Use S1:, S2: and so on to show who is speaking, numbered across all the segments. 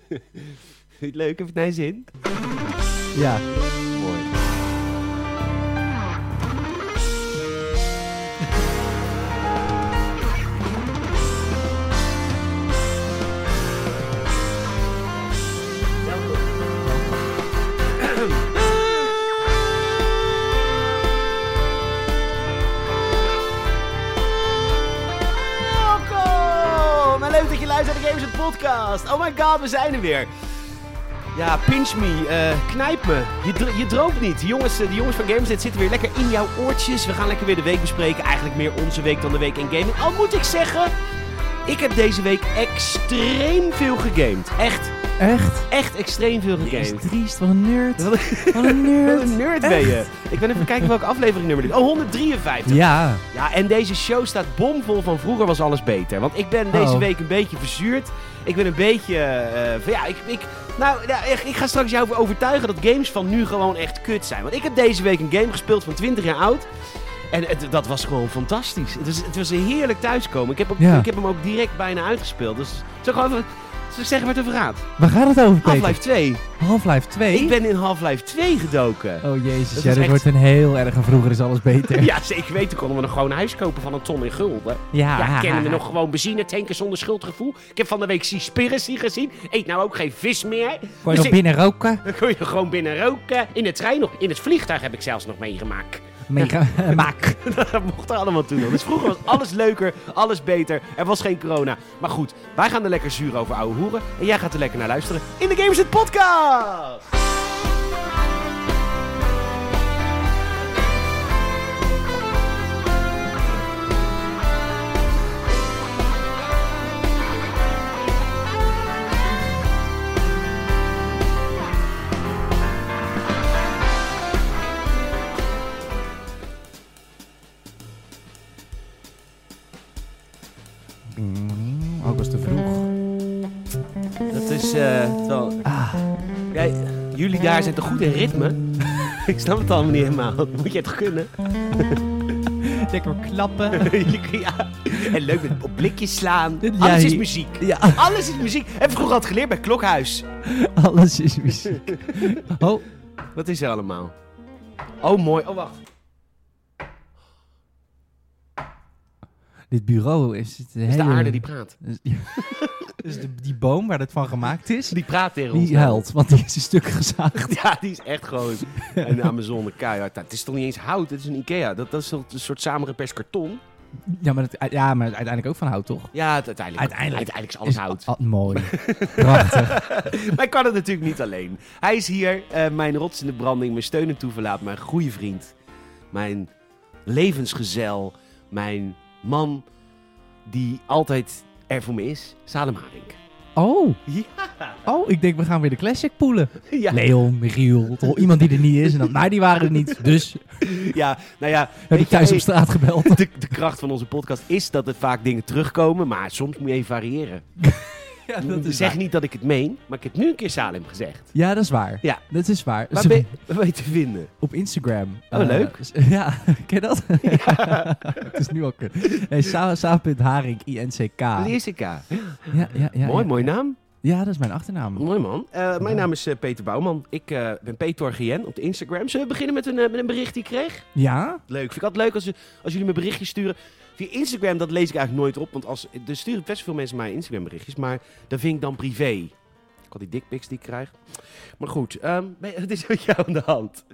S1: je het leuk? Heb je het naar je zin?
S2: Ja.
S1: Mooi. Welkom! En leuk dat je luistert naar de Games It Podcast. Oh my god, we zijn er weer. Ja, pinch me, eh, knijp me. Je, dro- je droomt niet. De jongens, eh, de jongens van Gameset zitten weer lekker in jouw oortjes. We gaan lekker weer de week bespreken. Eigenlijk meer onze week dan de week in gaming. Al moet ik zeggen, ik heb deze week extreem veel gegamed. Echt,
S2: Echt?
S1: echt extreem veel
S2: Dat is
S1: gegamed.
S2: triest, wat een nerd.
S1: Wat
S2: Wat een
S1: Wat
S2: nerd.
S1: een nerd ben je. Ik ben even kijken welke aflevering nummer dit Oh, 153.
S2: Ja.
S1: Ja, en deze show staat bomvol van vroeger was alles beter. Want ik ben deze
S2: Oh.
S1: week een beetje verzuurd. Ik ben een beetje. eh, van, ja, ik. ik nou, ja, ik, ik ga straks jou over overtuigen dat games van nu gewoon echt kut zijn. Want ik heb deze week een game gespeeld van 20 jaar oud. En het- dat was gewoon fantastisch. Het was, het was een heerlijk thuiskomen. Ik heb, ook,
S2: Ja.
S1: ik heb hem ook direct bijna uitgespeeld. Dus zou ik gewoon even. Zal ik zeggen waar het over gaat?
S2: Waar gaat het over, Peter?
S1: Half-Life 2.
S2: Half-Life 2?
S1: Ik ben in Half-Life 2 gedoken.
S2: Oh jezus,
S1: Dat
S2: ja,
S1: is
S2: dit
S1: echt-
S2: wordt een heel erg en vroeger is alles beter.
S1: Ja, zeker weten konden we nog gewoon een huis kopen van een ton in gulden. Ja, kennen we nog gewoon benzine tanken zonder schuldgevoel? Ik heb van de week Seaspiracy gezien. Eet nou ook geen vis meer. Dus
S2: Kon je nog
S1: ik-
S2: binnen roken?
S1: Dan kun je gewoon binnen roken. In de trein nog. In het vliegtuig heb ik zelfs nog meegemaakt.
S2: Mega... Maak.
S1: Dat mocht er allemaal toen al. Dus vroeger was alles leuker, alles beter. Er was geen corona. Maar goed, wij gaan er lekker zuur over ouwe hoeren. En jij gaat er lekker naar luisteren in de Games het Podcast.
S2: Oh, ik was te vroeg.
S1: Dat is eh, wel.
S2: Ah.
S1: Jij- jullie daar zitten goed in ritme. ik snap het allemaal niet helemaal. Moet je het kunnen?
S2: Lekker klappen.
S1: ja. En leuk met op blikjes slaan.
S2: Ja,
S1: Alles is
S2: hier-
S1: muziek.
S2: Ja,
S1: Alles is muziek. En vroeger had ik geleerd bij Klokhuis.
S2: alles is muziek. Oh,
S1: Wat is er allemaal? Oh, mooi. Oh, wacht.
S2: dit bureau is... Het
S1: Het is de aarde die praat.
S2: Dus die, dus de- die boom waar dat van gemaakt is,
S1: Die praat tegen ons.
S2: die huilt, want die is in stukken gezaagd.
S1: Ja, die is echt gewoon een Amazone keihard. Het is toch niet eens hout, het is een Ikea. Dat, dat is toch een soort samengeperst karton.
S2: Ja, maar, het, ja, maar uiteindelijk ook van hout, toch?
S1: Ja, het- uiteindelijk,
S2: Uiteindelijk.
S1: uiteindelijk is alles
S2: Is-
S1: hout.
S2: ah, mooi. Prachtig.
S1: Maar ik kan het natuurlijk niet alleen. Hij is hier, eh, mijn rots in de branding, mijn steun en toeverlaat, mijn goede vriend. Mijn levensgezel, mijn man die altijd er voor me is, Salem Haring.
S2: Oh,
S1: Ja.
S2: oh, ik denk we gaan weer de classic poelen.
S1: Ja.
S2: Leon, Michiel, toch iemand die er niet is. En dan, maar die waren er niet, dus
S1: ja, nou ja.
S2: heb ik
S1: weet je,
S2: thuis op
S1: eh,
S2: straat gebeld.
S1: de, de kracht van onze podcast is dat er vaak dingen terugkomen, maar soms moet je even variëren.
S2: Ja,
S1: zeg niet dat ik het meen, maar ik heb nu een keer Salem gezegd.
S2: Ja, dat is waar.
S1: Ja.
S2: Dat is waar.
S1: Waar
S2: Ze-
S1: ben, waar ben je te vinden?
S2: Op Instagram.
S1: Oh,
S2: Eh,
S1: leuk.
S2: s- Ja, ken je dat? Het is nu al kut. Nee, Sa- Sa.Haring, INCK.
S1: Dat
S2: Ah. Ja,
S1: is ik, ja.
S2: ja, ja, ja.
S1: Mooi, mooie naam.
S2: Ja, dat is mijn achternaam.
S1: Mooi man. Eh, mijn naam is eh, Peter Bouwman. Ik eh, ben Peter Gien op de Instagram. Zullen we beginnen met een, eh, met een bericht die ik kreeg?
S2: Ja?
S1: Leuk. Vind ik altijd leuk als, als jullie me berichtjes sturen. Via Instagram, dat lees ik eigenlijk nooit op. Want als, er sturen best veel mensen mij Instagram berichtjes. Maar dat vind ik dan privé. Ik had die dickpics die ik krijg. Maar goed, ehm, ben- wat is met jou aan de hand?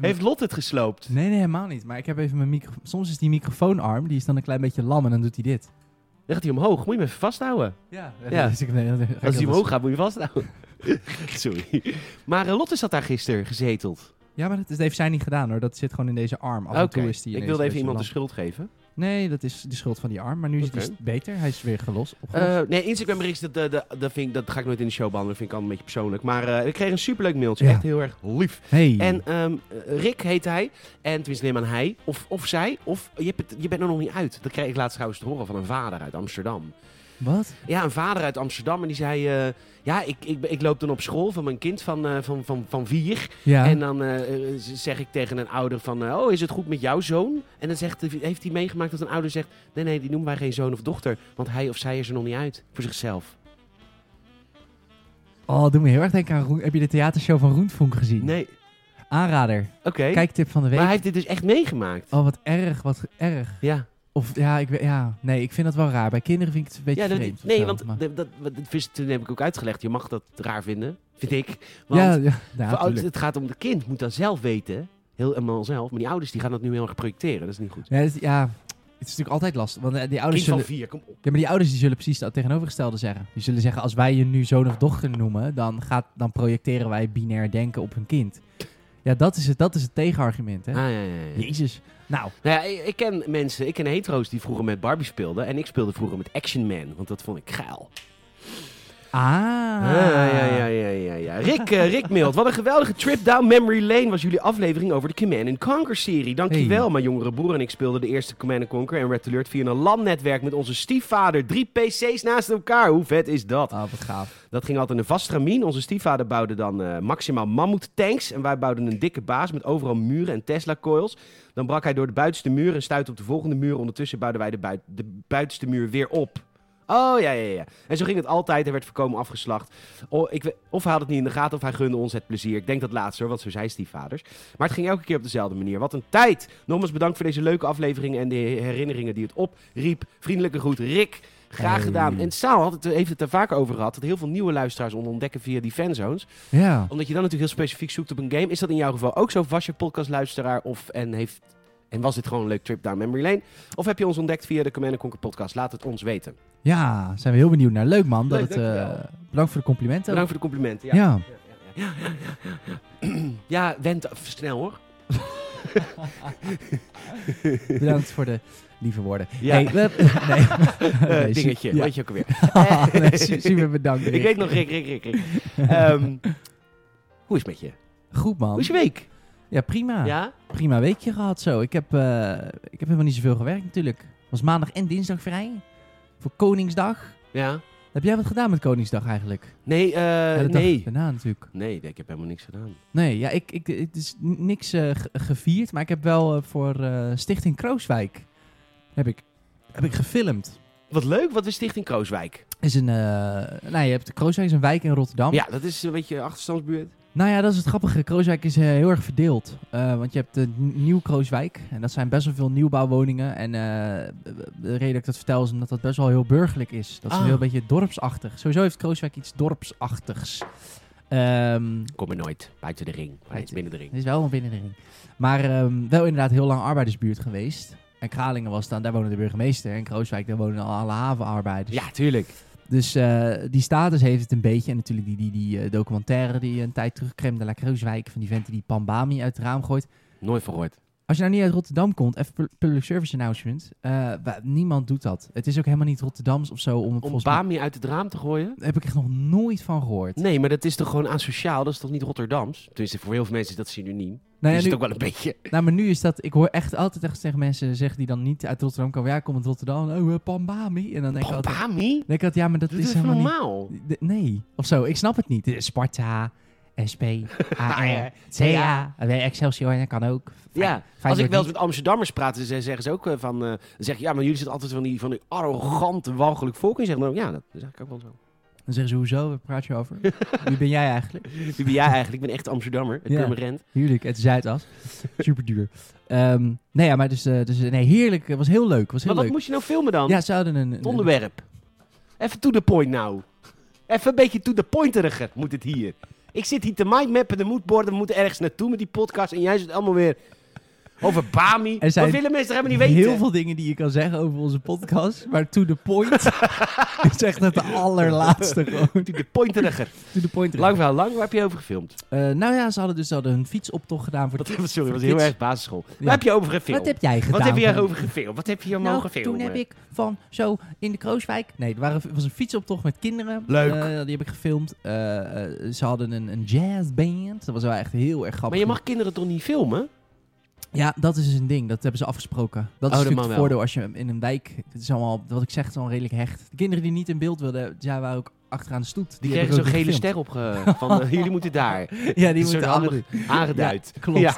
S1: Heeft Lot het gesloopt?
S2: Nee, nee, helemaal niet. Maar ik heb even mijn micro... Soms is die microfoonarm, die is dan een klein beetje lam en dan doet hij dit.
S1: Dan gaat hij omhoog. Moet je hem even vasthouden.
S2: Ja.
S1: Ja.
S2: Dus ik, nee, dan ga ik
S1: Als hij
S2: heel
S1: omhoog gaat, moet je hem vasthouden. Sorry. Maar eh, Lotte zat daar gisteren gezeteld.
S2: Ja, maar dat, is- dat heeft zij niet gedaan hoor. Dat zit gewoon in deze arm. Af
S1: Oké.
S2: en toe is die
S1: Ik
S2: ineens
S1: wilde even
S2: een
S1: iemand de
S2: beetje
S1: schuld geven.
S2: lam. Nee, dat is de schuld van die arm. Maar nu is
S1: Oké.
S2: die beter. Hij is weer gelost. opgelost.
S1: Eh, nee, Instagram berichten, dat, eh, dat, dat, vind ik, dat ga ik nooit in de show behandelen. Dat vind ik al een beetje persoonlijk. Maar eh, ik kreeg een superleuk mailtje.
S2: Ja.
S1: Echt heel erg lief.
S2: hey.
S1: En ehm, Rick heet hij. En tenminste, neem aan hij. Of, of zij. Of je, hebt het- je bent er nog niet uit. Dat kreeg ik laatst trouwens te horen van een vader uit Amsterdam.
S2: Wat?
S1: Ja, een vader uit Amsterdam. En die zei... eh, ja, ik, ik, ik loop dan op school van mijn kind van, eh, van, van, van vier.
S2: Ja.
S1: En dan eh, eh, zeg ik tegen een ouder van, eh, oh, is het goed met jouw zoon? En dan zegt, heeft hij meegemaakt dat een ouder zegt, nee, nee, die noemen wij geen zoon of dochter, want hij of zij is er nog niet uit voor zichzelf.
S2: Oh, doe me heel erg denken aan Roen. Heb je de theatershow van Roentvonk gezien?
S1: Nee,
S2: Aanrader.
S1: oké.
S2: Kijktip van de week.
S1: Maar hij heeft dit dus echt meegemaakt.
S2: Oh, wat erg, wat erg.
S1: Ja,
S2: Of ja, ik weet, ja, nee, ik vind dat wel raar. Bij kinderen vind ik het een beetje
S1: ja dat-
S2: vreemd. of
S1: nee,
S2: zo,
S1: want
S2: maar-
S1: dat, dat, wat- dat is- toen heb ik ook uitgelegd, je mag dat raar vinden, vind ik. Want
S2: ja, ja,
S1: voor
S2: ja,
S1: ouders-
S2: tuurlijk.
S1: het gaat om het kind, moet dat zelf weten, heel helemaal zelf. Maar die ouders die gaan dat nu heel erg projecteren, dat is niet goed.
S2: Ja, het, ja, het is natuurlijk altijd lastig. Want eh, die ouders
S1: Kind van
S2: zullen,
S1: vier, kom op.
S2: ja, maar die ouders die zullen precies het tegenovergestelde zeggen. Die zullen zeggen, als wij je nu zoon of dochter noemen, dan, gaat, dan projecteren wij binair denken op hun kind. Ja, dat is het, dat is het tegenargument, hè?
S1: Ah, ja, ja, ja.
S2: Jezus. Nou,
S1: Nou ja, ik, ik ken mensen, ik ken hetero's die vroeger met Barbie speelden. En ik speelde vroeger met Action Man, want dat vond ik geil.
S2: ah.
S1: Ah, ja, ja, ja, ja, ja. Rick, eh, Rick Mild, wat een geweldige trip down memory lane was jullie aflevering over de Command Conquer serie. Dankjewel,
S2: Hey.
S1: mijn jongere broer en ik speelden de eerste Command Conquer en Red Alert via een LAN-netwerk met onze stiefvader. Drie PC's naast elkaar, hoe vet is dat?
S2: Oh, wat gaaf.
S1: Dat ging altijd in een vast stramien. Onze stiefvader bouwde dan eh, maximaal mammoet-tanks en wij bouwden een dikke baas met overal muren en Tesla-coils. Dan brak hij door de buitenste muur en stuitte op de volgende muur. Ondertussen bouwden wij de, bui- de buitenste muur weer op. Oh, ja, ja, ja. En zo ging het altijd. Hij werd voorkomen afgeslacht. O- ik we- of hij had het niet in de gaten, of hij gunde ons het plezier. Ik denk dat laatste hoor, want zo zijn stiefvaders. Maar het ging elke keer op dezelfde manier. Wat een tijd! Nogmaals bedankt voor deze leuke aflevering en de herinneringen die het opriep. Vriendelijke groet, Rick. Graag
S2: Hey.
S1: gedaan. En Saal had het, eh, heeft het daar vaker over gehad. Dat heel veel nieuwe luisteraars ontdekken via die fanzones.
S2: Ja.
S1: Omdat je dan natuurlijk heel specifiek zoekt op een game. Is dat in jouw geval ook zo? Of was je podcastluisteraar of en heeft... En was dit gewoon een leuk trip down memory lane? Of heb je ons ontdekt via de Command Conquer podcast? Laat het ons weten.
S2: Ja, zijn we heel benieuwd naar. Leuk man.
S1: Leuk,
S2: dat het, eh,
S1: dankjewel.
S2: bedankt voor de complimenten.
S1: Bedankt voor de complimenten. Ja,
S2: ja.
S1: ja went af- snel hoor.
S2: Bedankt voor de lieve woorden.
S1: Ja.
S2: Hey, we- nee.
S1: Eh,
S2: Nee,
S1: dingetje,
S2: su- ja.
S1: weet je ook alweer.
S2: Nee, su- super bedankt.
S1: Ik weet nog, Rick, Rick, Rick, Rick. Ehm, hoe is het met je?
S2: Goed man.
S1: Hoe is je week?
S2: Ja, prima.
S1: Ja?
S2: Prima weekje gehad zo. Ik heb, eh, ik heb helemaal niet zoveel gewerkt natuurlijk. Was maandag en dinsdag vrij. Voor Koningsdag.
S1: Ja?
S2: Heb jij wat gedaan met Koningsdag eigenlijk?
S1: Nee, eh,
S2: Ja, de dag
S1: nee.
S2: Daarna natuurlijk.
S1: Nee, ik heb helemaal niks gedaan.
S2: Nee, ja, ik, ik, het is n- niks eh, ge- gevierd, maar ik heb wel eh, voor eh, Stichting Krooswijk heb ik, heb ik gefilmd.
S1: Wat leuk, wat is Stichting Krooswijk?
S2: Is een, eh, nou, je hebt Krooswijk is een wijk in Rotterdam.
S1: Ja, dat is een beetje achterstandsbuurt.
S2: Nou ja, dat is het grappige. Krooswijk is eh, heel erg verdeeld. Eh, want je hebt de Nieuw Krooswijk. En dat zijn best wel veel nieuwbouwwoningen. En eh, de reden dat ik dat vertel is omdat dat best wel heel burgerlijk is. Dat is
S1: Ah.
S2: een heel beetje dorpsachtig. Sowieso heeft Krooswijk iets dorpsachtigs. Ehm,
S1: Kom er nooit, buiten de ring. Maar het is binnen de ring.
S2: het is wel een binnenring. Maar ehm, wel inderdaad heel lang arbeidersbuurt geweest. En Kralingen was dan, daar woonde de burgemeester. En Krooswijk, daar wonen alle havenarbeiders.
S1: Ja, tuurlijk.
S2: Dus eh, die status heeft het een beetje. En natuurlijk die, die, die eh, documentaire die een tijd terug, Crème de la Kreuzwijk, van die venten die Pambami uit het raam gooit.
S1: Nooit verhoord.
S2: Als je nou niet uit Rotterdam komt, even pu- public service announcement. eh, wa- niemand doet dat. Het is ook helemaal niet Rotterdams of zo. Om, het
S1: Om
S2: volgens mij-
S1: Bami uit het raam te gooien?
S2: Daar heb ik echt nog nooit van gehoord.
S1: Nee, maar dat is toch gewoon asociaal? Dat is toch niet Rotterdams? Tenminste, voor heel veel mensen is dat synoniem.
S2: Nou,
S1: is het
S2: ja, nu,
S1: ook wel een beetje.
S2: nou, maar nu is dat... Ik hoor echt altijd echt tegen mensen zeggen die dan niet uit Rotterdam komen. Ja, ik kom uit Rotterdam. Oh, eh, Pambami. En dan denk ik altijd...
S1: Bami?
S2: denk ik altijd, ja, maar dat
S1: Dat
S2: is,
S1: is
S2: helemaal niet...
S1: normaal.
S2: De- nee, of zo. Ik snap het niet. Eh, Sparta, SP, AR, CA, eh, Excelsior, dat kan ook. Fijn-
S1: Ja,
S2: Feyenoord
S1: als ik wel eens
S2: niet.
S1: met Amsterdammers praat, dan zeggen ze ook eh, van... eh, dan zeg je, ja, maar jullie zitten altijd van die, van die arrogante, walgelijk volk. En zeggen dan ook, ja, dat is eigenlijk ook wel zo.
S2: Dan zeggen ze, hoezo, waar praat je over? Wie ben jij eigenlijk?
S1: Wie ben jij eigenlijk? Ik ben echt Amsterdammer, het
S2: Ja.
S1: permanent.
S2: Huurlijk, het Zuidas. Super duur. Ehm, nee, ja, maar dus, eh, dus eh, nee, heerlijk. Het was heel leuk. was
S1: Maar
S2: heel
S1: wat
S2: leuk.
S1: moest je nou filmen dan?
S2: Ja, ze hadden een...
S1: Het
S2: een-
S1: onderwerp. Even to the point nou. Even een beetje to the pointeriger moet het hier. Ik zit hier te mindmappen, de moodboarden, we moeten ergens naartoe met die podcast. En jij zit allemaal weer over Bami.
S2: Er zijn
S1: Wat willen mensen toch helemaal
S2: een-
S1: niet weten?
S2: Heel veel dingen die je kan zeggen over onze podcast, maar to the point is echt het allerlaatste gewoon.
S1: To the pointeriger.
S2: To the point.
S1: Lang verhaal lang, waar heb je over gefilmd?
S2: Eh, nou ja, ze hadden dus ze hadden hun fietsoptocht gedaan voor de
S1: Wat, sorry, dat was
S2: kids.
S1: heel erg basisschool. Waar
S2: Ja.
S1: heb je over gefilmd?
S2: Wat heb jij gedaan?
S1: Wat heb je
S2: Van-
S1: hierover gefilmd? Wat heb je hier mogen
S2: Nou,
S1: filmen?
S2: toen heb ik van zo in de Krooswijk. Nee, er waren, was een fietsoptocht met kinderen.
S1: Leuk.
S2: Eh, die heb ik gefilmd. Eh, eh, ze hadden een, een jazzband. Dat was wel echt heel erg grappig.
S1: Maar je mag kinderen toch niet filmen?
S2: Ja, dat is dus een ding. Dat hebben ze afgesproken. Dat
S1: Oh,
S2: is
S1: dat
S2: natuurlijk
S1: mag
S2: het
S1: wel.
S2: voordeel als je in een wijk... Het is allemaal, wat ik zeg, het is allemaal redelijk hecht. De kinderen die niet in beeld wilden, ja, waren ook achteraan de stoet.
S1: Die
S2: hebben
S1: kregen zo'n
S2: ook
S1: gele
S2: gefilmd.
S1: ster op ge- van eh, jullie moeten daar.
S2: Ja, die
S1: Zo'n
S2: moeten allemaal
S1: handig- Aangeduid.
S2: Klopt.
S1: Ja.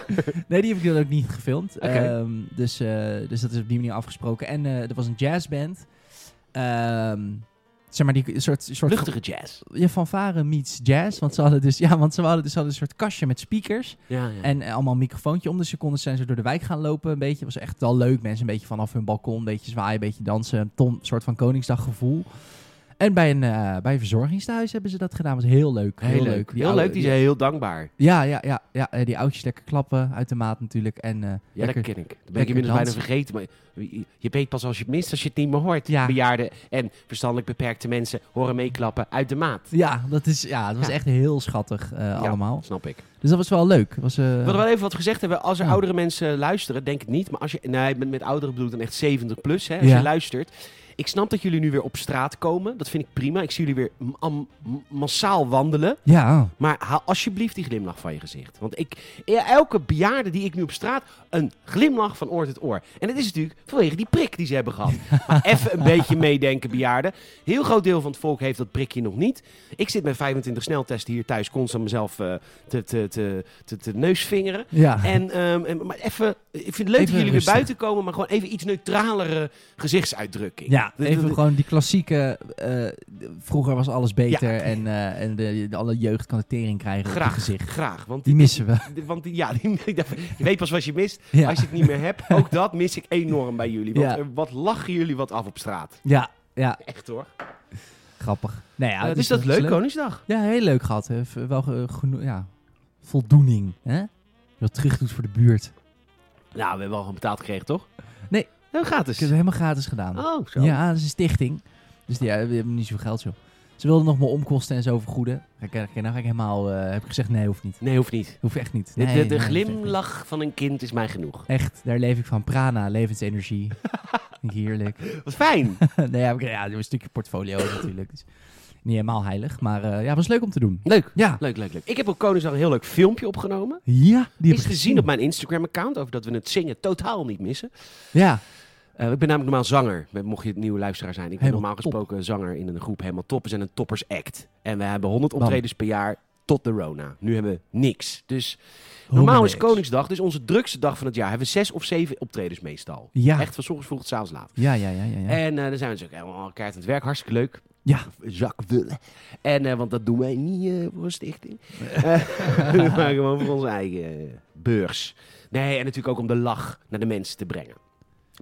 S2: Nee, die heb ik dan ook niet gefilmd.
S1: Oké.
S2: Ehm, dus, eh, dus dat is op die manier afgesproken. En eh, er was een jazzband. Ehm, zeg maar, die soort, soort
S1: Luchtige jazz.
S2: ja, fanfare meets jazz. Want ze hadden dus, ja, want ze hadden dus ze hadden een soort kastje met speakers.
S1: Ja, ja.
S2: En eh, allemaal een microfoontje om de seconde zijn ze door de wijk gaan lopen. Een beetje. was echt wel leuk. Mensen een beetje vanaf hun balkon. Een beetje zwaaien, een beetje dansen. Een tom, soort van Koningsdag gevoel. En bij een, eh, bij een verzorgingstehuis hebben ze dat gedaan. was heel leuk.
S1: heel, leuk.
S2: Die
S1: heel
S2: oude-
S1: leuk, die zijn heel dankbaar.
S2: Ja, ja, ja, ja. eh, Die oudjes lekker klappen. Uit de maat natuurlijk. En, eh,
S1: Ja,
S2: lekker-
S1: dat ken ik. Dat ben ik
S2: lekker
S1: inmiddels bijna
S2: dansen.
S1: vergeten. Maar je- je weet pas als je het mist, als je het niet meer hoort.
S2: Ja.
S1: Bejaarden en verstandelijk beperkte mensen horen meeklappen uit de maat.
S2: ja, dat is, ja, dat was
S1: Ja.
S2: echt heel schattig eh, allemaal.
S1: Snap ik.
S2: Dus dat was wel leuk. Was, eh,
S1: We hadden wel even wat gezegd hebben. Als er
S2: Ja.
S1: oudere mensen luisteren, denk ik niet. Maar als je, nee, met, met ouderen bedoel ik dan echt 70 plus. Hè, als
S2: Ja.
S1: je luistert. Ik snap dat jullie nu weer op straat komen. Dat vind ik prima. Ik zie jullie weer m- am- m- massaal wandelen.
S2: Ja,
S1: Maar haal alsjeblieft die glimlach van je gezicht. Want ik, elke bejaarde die ik nu op straat, een glimlach van oor tot oor. En dat is natuurlijk vanwege die prik die ze hebben gehad. Maar even een beetje meedenken, bejaarden. Heel groot deel van het volk heeft dat prikje nog niet. Ik zit met 25 sneltesten hier thuis constant mezelf eh, te, te, te, te, te neusvingeren.
S2: ja.
S1: En, ehm, en- maar even, ik vind het leuk dat
S2: Even
S1: jullie
S2: rustig.
S1: weer buiten komen, maar gewoon even iets neutralere gezichtsuitdrukking.
S2: Ja,
S1: Dat-
S2: even
S1: dat-
S2: gewoon die klassieke. eh, vroeger was alles beter
S1: Ja.
S2: en, eh, en de, de- alle jeugd kan de tering krijgen op
S1: Graag,
S2: je gezicht.
S1: graag. Want
S2: Die missen we.
S1: De- Want die- ja, die- je weet pas wat je mist
S2: Ja.
S1: als je het niet meer hebt. Ook dat mis ik enorm bij jullie. Want
S2: Ja.
S1: eh, wat lachen jullie wat af op straat.
S2: Ja, ja,
S1: Echt hoor.
S2: grappig. Nou ja,
S1: Eh,
S2: dus
S1: dus dat is
S2: is
S1: leuk, Koningsdag.
S2: Ja, heel leuk gehad. hè. V- Wel ge- geno- ja, voldoening. Hè? Wat terug doet voor de buurt.
S1: Nou, we hebben wel gewoon betaald gekregen, toch?
S2: Nee.
S1: Nou, gratis.
S2: Ik heb het helemaal gratis gedaan.
S1: Oh, zo.
S2: ja, dat is een stichting. Dus die, ja, we hebben niet zoveel geld, joh. Ze wilden nog mijn omkosten en zo vergoeden. Kijk, kijk, nou ga ik helemaal. eh, heb ik gezegd, nee, hoeft niet.
S1: Nee, hoeft niet.
S2: Hoeft echt niet.
S1: De-
S2: Nee,
S1: de de
S2: nee, hoeft echt niet.
S1: glimlach van een kind is mij genoeg.
S2: Echt, daar leef ik van. Prana, levensenergie. Vind ik Heerlijk.
S1: Wat fijn.
S2: nee, heb ik, ja, een stukje portfolio natuurlijk. Dus niet helemaal heilig, maar eh, ja, was leuk om te doen.
S1: Leuk.
S2: Ja,
S1: Leuk, leuk, leuk. Ik heb op Koningsdag een heel leuk filmpje opgenomen.
S2: ja die heb
S1: Is
S2: ik
S1: te zien op mijn Instagram-account over dat we het zingen totaal niet missen.
S2: Ja,
S1: Eh, ik ben namelijk normaal zanger, mocht je het nieuwe luisteraar zijn. Ik ben
S2: Helemaal
S1: normaal
S2: top.
S1: gesproken zanger in een groep helemaal top. We zijn een toppers act. En we hebben 100 optredens per jaar tot de Rona. Nu hebben we niks. Dus normaal is
S2: Homerix.
S1: Koningsdag, dus onze drukste dag van het jaar, hebben we zes of zeven optredens meestal.
S2: Ja.
S1: Echt van 's ochtends vroeg tot 's avonds laat.
S2: Ja, ja, ja, ja. ja.
S1: En eh dan zijn we natuurlijk helemaal elkaar aan het werk. Hartstikke leuk.
S2: Ja.
S1: Jacques Wulle. En, eh, want dat doen wij niet eh, voor een stichting. Eh, maar gewoon voor onze eigen eh, beurs. Nee, en natuurlijk ook om de lach naar de mensen te brengen.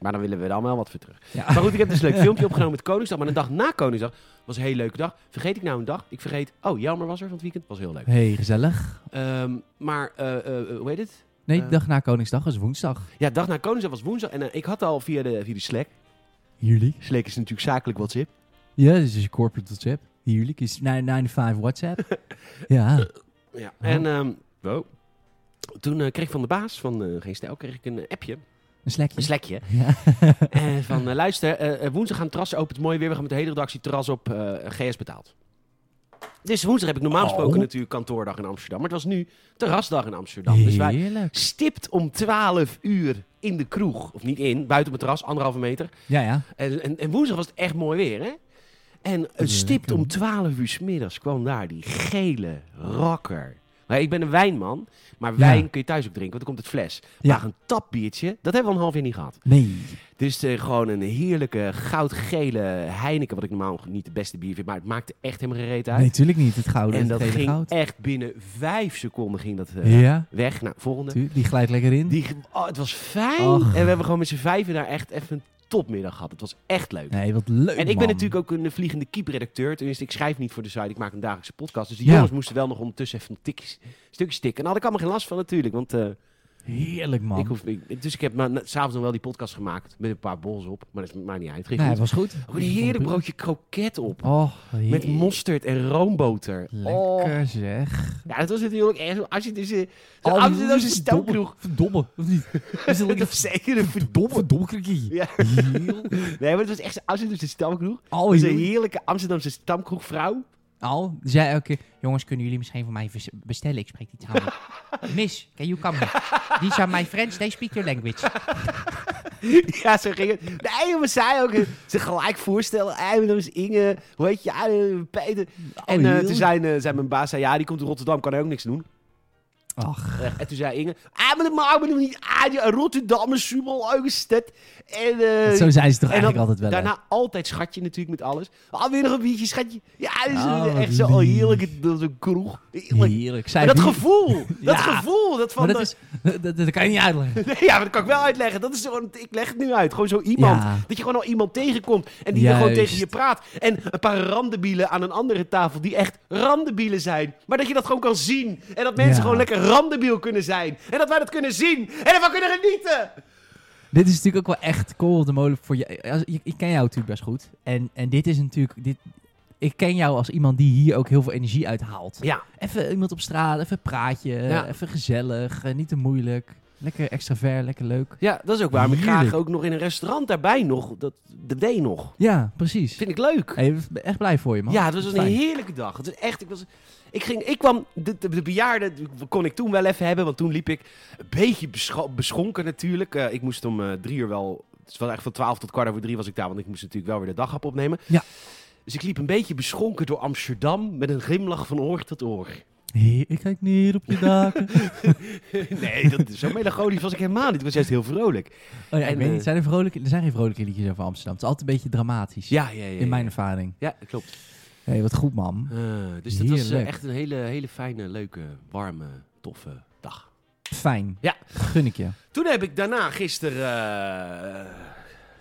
S1: Maar dan willen we dan wel wat voor terug.
S2: Ja.
S1: Maar goed, ik heb dus een leuk filmpje opgenomen met Koningsdag. Maar de dag na Koningsdag was een hele leuke dag. Vergeet ik nou een dag? Ik vergeet... Oh, Jelmer was er van het weekend. Was heel leuk.
S2: hey, gezellig.
S1: Ehm, maar, eh, eh, eh, hoe heet het?
S2: Nee,
S1: Eh.
S2: dag na Koningsdag was woensdag.
S1: Ja, dag na Koningsdag was woensdag. En eh, ik had al via de, via de Slack.
S2: Jullie?
S1: Slack is natuurlijk zakelijk WhatsApp.
S2: Ja, dit is je corporate WhatsApp. Jullie is 995 WhatsApp. ja.
S1: Ja.
S2: Oh.
S1: En ehm, toen eh, kreeg ik van de baas van eh, Geen Stijl kreeg ik een appje,
S2: Een slekje.
S1: een slekje.
S2: Ja.
S1: eh, van eh, luister, eh, eh, woensdag gaan het terras open, het is mooi weer. We gaan met de hele redactie terras op eh, GS betaald. Dus woensdag heb ik normaal gesproken
S2: Oh.
S1: natuurlijk kantoordag in Amsterdam. Maar het was nu terrasdag in Amsterdam. Dus wij
S2: Heerlijk.
S1: stipt om 12 uur in de kroeg. Of niet in, buiten op het terras, anderhalve meter.
S2: Ja, ja.
S1: En, en, en woensdag was het echt mooi weer, hè? En het
S2: Lekker.
S1: stipt om 12 uur 's middags kwam daar die gele rocker. Nou, ik ben een wijnman, maar wijn
S2: Ja.
S1: kun je thuis ook drinken, want dan komt het fles.
S2: Ja.
S1: Maar een tapbiertje, dat hebben we al een half jaar niet gehad.
S2: Nee.
S1: Dus eh, gewoon een heerlijke goudgele Heineken, wat ik normaal niet de beste bier vind, maar het maakte echt helemaal geen reet uit.
S2: Nee, natuurlijk niet. Het gouden
S1: en dat
S2: gele
S1: ging
S2: goud.
S1: echt binnen vijf seconden ging dat eh,
S2: Ja,
S1: weg. Nou, volgende.
S2: tuur- die glijdt lekker in.
S1: Die, oh, het was fijn.
S2: Och.
S1: En we hebben gewoon met z'n vijven daar echt even een topmiddag gehad. Het was echt leuk.
S2: Nee, wat leuk,
S1: En ik ben
S2: man.
S1: natuurlijk ook een vliegende keep-redacteur. Tenminste, ik schrijf niet voor de site. Ik maak een dagelijkse podcast. Dus die
S2: Ja.
S1: jongens moesten wel nog ondertussen even een tikjes, stukje stikken. En daar had ik allemaal geen last van natuurlijk. Want eh,
S2: Heerlijk, man.
S1: ik hoef, ik- dus ik heb maar na- s'avonds nog wel die podcast gemaakt. Met een paar bols op. Maar dat is- maakt niet uit. Geen
S2: Nee, het
S1: goed.
S2: was goed.
S1: Ook een heerlijk broodje kroket op.
S2: Oh,
S1: Met
S2: heer-
S1: mosterd en roomboter. Oh.
S2: Lekker zeg.
S1: Ja, dat was natuurlijk echt. Als je dus. eh, Zo'n Amsterdamse stamkroeg.
S2: Verdomme, of niet? Is het
S1: Dat is zeker een verdomme.
S2: verdomme krikkie?
S1: Ja. Nee, maar het was echt zo'n Amsterdamse stamkroeg.
S2: Al,
S1: Zo'n
S2: joh.
S1: heerlijke Amsterdamse stamkroegvrouw.
S2: Al, zei elke keer, jongens, kunnen jullie misschien voor mij vers- bestellen? Ik spreek Italiaans. Miss, can you come? These are my friends, they speak your language.
S1: Ja, zo ging het. Nee, maar zij ook eh, zich gelijk voorstellen. Eindelijk Inge, hoe heet je? eh, Peter. En eh,
S2: heel-
S1: toen zei, eh, zei mijn baas, zei, ja, die komt uit Rotterdam, kan hij ook niks doen.
S2: Ach,
S1: Eh, en toen zei Inge, ah, maar dat maakt me nog niet uit. Ja, Rotterdam is superleukstad. En, eh,
S2: dat- zo zijn ze toch
S1: en dan
S2: eigenlijk altijd wel. hè?
S1: Daarna altijd schatje natuurlijk met alles. Alweer nog een biertje, schatje. Ja, dat is
S2: Oh,
S1: een-
S2: wat
S1: echt zo
S2: lief.
S1: heerlijk. Dat is een kroeg. Heerlijk.
S2: Heerlijk. Zij
S1: Maar dat
S2: wie-
S1: gevoel, dat
S2: Ja.
S1: gevoel, dat van...
S2: Maar dat,
S1: de-
S2: is, dat, dat- dat kan je niet uitleggen.
S1: Nee, ja, maar dat kan ik wel uitleggen. Dat is gewoon, ik leg het nu uit. Gewoon zo iemand.
S2: Ja.
S1: Dat je gewoon al iemand tegenkomt en die er
S2: Juist.
S1: gewoon tegen je praat. En een paar randenbielen aan een andere tafel die echt randenbielen zijn. Maar dat je dat gewoon kan zien. En dat mensen
S2: Ja.
S1: gewoon lekker randenbiel kunnen zijn. En dat wij dat kunnen zien. En ervan kunnen genieten.
S2: Dit is natuurlijk ook wel echt kool op de molen voor je. als- Ik, ik ken jou natuurlijk best goed. En, en dit is natuurlijk. Dit, ik ken jou als iemand die hier ook heel veel energie uithaalt.
S1: Ja,
S2: Even iemand op straat, even een praatje,
S1: Ja.
S2: even gezellig, eh, niet te moeilijk. Lekker extravert, lekker leuk.
S1: ja dat is ook waar. Maar ik ga
S2: Heerlijk.
S1: ook nog in een restaurant daarbij nog. Dat, dat deed nog.
S2: Ja, precies.
S1: Vind ik leuk.
S2: Hey, ik ben echt blij voor je, man.
S1: Ja, het was een
S2: Fijn.
S1: heerlijke dag. Het was echt, ik, was, ik, ging, ik kwam, de, de, de bejaarden kon ik toen wel even hebben, want toen liep ik een beetje bescho- beschonken natuurlijk. Eh, ik moest om eh, drie uur wel, het was eigenlijk van twaalf tot kwart over drie was ik daar, want ik moest natuurlijk wel weer de daghap opnemen.
S2: Ja.
S1: Dus ik liep een beetje beschonken door Amsterdam met een glimlach van oor tot oor.
S2: Hey, ik kijk neer op je daken.
S1: nee, dat, zo melancholisch was ik helemaal niet. Ik was juist heel vrolijk.
S2: Oh, ja, ik
S1: En,
S2: weet
S1: eh,
S2: niet, zijn er, vrolijke, er zijn geen vrolijke liedjes over Amsterdam. Het is altijd een beetje dramatisch.
S1: Ja, ja, ja.
S2: In mijn
S1: ja.
S2: ervaring.
S1: Ja, dat klopt.
S2: hey, wat goed, man.
S1: Eh, dus dat was eh,
S2: Heerlijk.
S1: echt een hele, hele fijne, leuke, warme, toffe dag.
S2: Fijn.
S1: Ja.
S2: Gun ik je.
S1: Toen heb ik daarna gisteren eh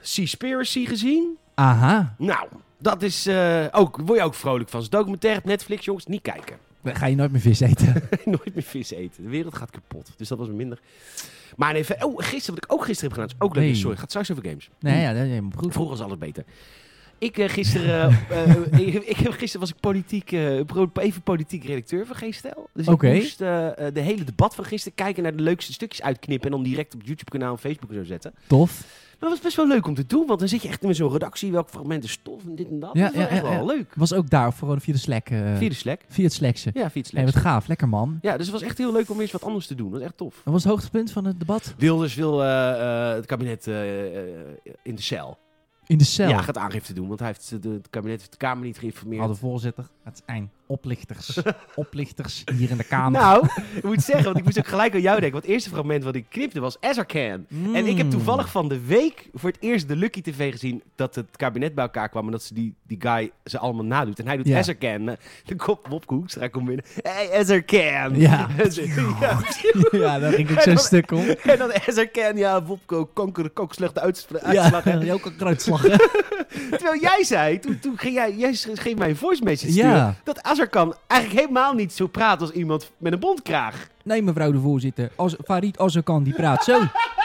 S1: Seaspiracy gezien.
S2: Aha.
S1: Nou, dat is eh, ook, word je ook vrolijk van. Het is een documentaire op Netflix, jongens, niet kijken.
S2: Dan ga je nooit meer vis eten.
S1: Nooit meer vis eten. De wereld gaat kapot. Dus dat was minder. Maar nee, ver- oh, gisteren, wat ik ook gisteren heb gedaan, is ook leuk.
S2: Nee.
S1: Sorry, het gaat straks over games.
S2: nee, ja, dat is helemaal goed.
S1: Vroeger was alles beter. Ik, eh, gisteren, eh, eh, ik, ik heb- gisteren was ik politiek, eh, pro- even politiek redacteur van Geen Stijl. Dus
S2: Oké.
S1: ik moest eh, eh, de hele debat van gisteren kijken naar de leukste stukjes uitknippen. En dan direct op het YouTube-kanaal en Facebook en zo zetten.
S2: Tof.
S1: Maar dat was best wel leuk om te doen, want dan zit je echt met zo'n redactie, welke fragmenten stof en dit en dat.
S2: Ja,
S1: dat was
S2: ja,
S1: echt
S2: ja,
S1: wel
S2: ja.
S1: leuk.
S2: Was ook daar gewoon via de Slack. eh,
S1: Via de Slack.
S2: via het Slackse.
S1: Ja, via de Slack.
S2: Hey, wat gaaf. Lekker, man.
S1: Ja, dus het was echt heel leuk om eens wat anders te doen. Dat was echt tof.
S2: Wat was het hoogtepunt van het debat?
S1: Wilders wil eh, eh, het kabinet eh, eh, in de cel.
S2: In de cel.
S1: Ja, gaat aangifte doen, want hij heeft, de, het kabinet heeft de Kamer niet geïnformeerd.
S2: Hadden voorzitter. Het zijn oplichters. oplichters hier in de kamer.
S1: Nou, ik moet zeggen, want ik moest ook gelijk aan jou denken. Want het eerste fragment wat ik knipte was Azarkan. En ik heb
S2: Mm.
S1: toevallig van de week voor het eerst de Lucky TV gezien dat het kabinet bij elkaar kwam en dat ze die, die guy ze allemaal nadoet. En hij doet
S2: Ja.
S1: Azarkan. De kop Bob Hoekstra komt binnen. Hey, Azarkan.
S2: Ja.
S1: ja.
S2: ja, daar ging ik zo'n stuk om.
S1: En dan Azarkan, ja, Bobko, kanker, kook, slechte uitspra-
S2: Ja,
S1: uitslag. hè.
S2: heel kruidslagen.
S1: Terwijl jij zei, toen, toen ging jij, jij schreef mij een voice message
S2: Ja.
S1: sturen, dat Azarkan eigenlijk helemaal niet zo praat als iemand met een bondkraag.
S2: Nee, mevrouw de voorzitter. Als, Farid Azarkan, die praat zo.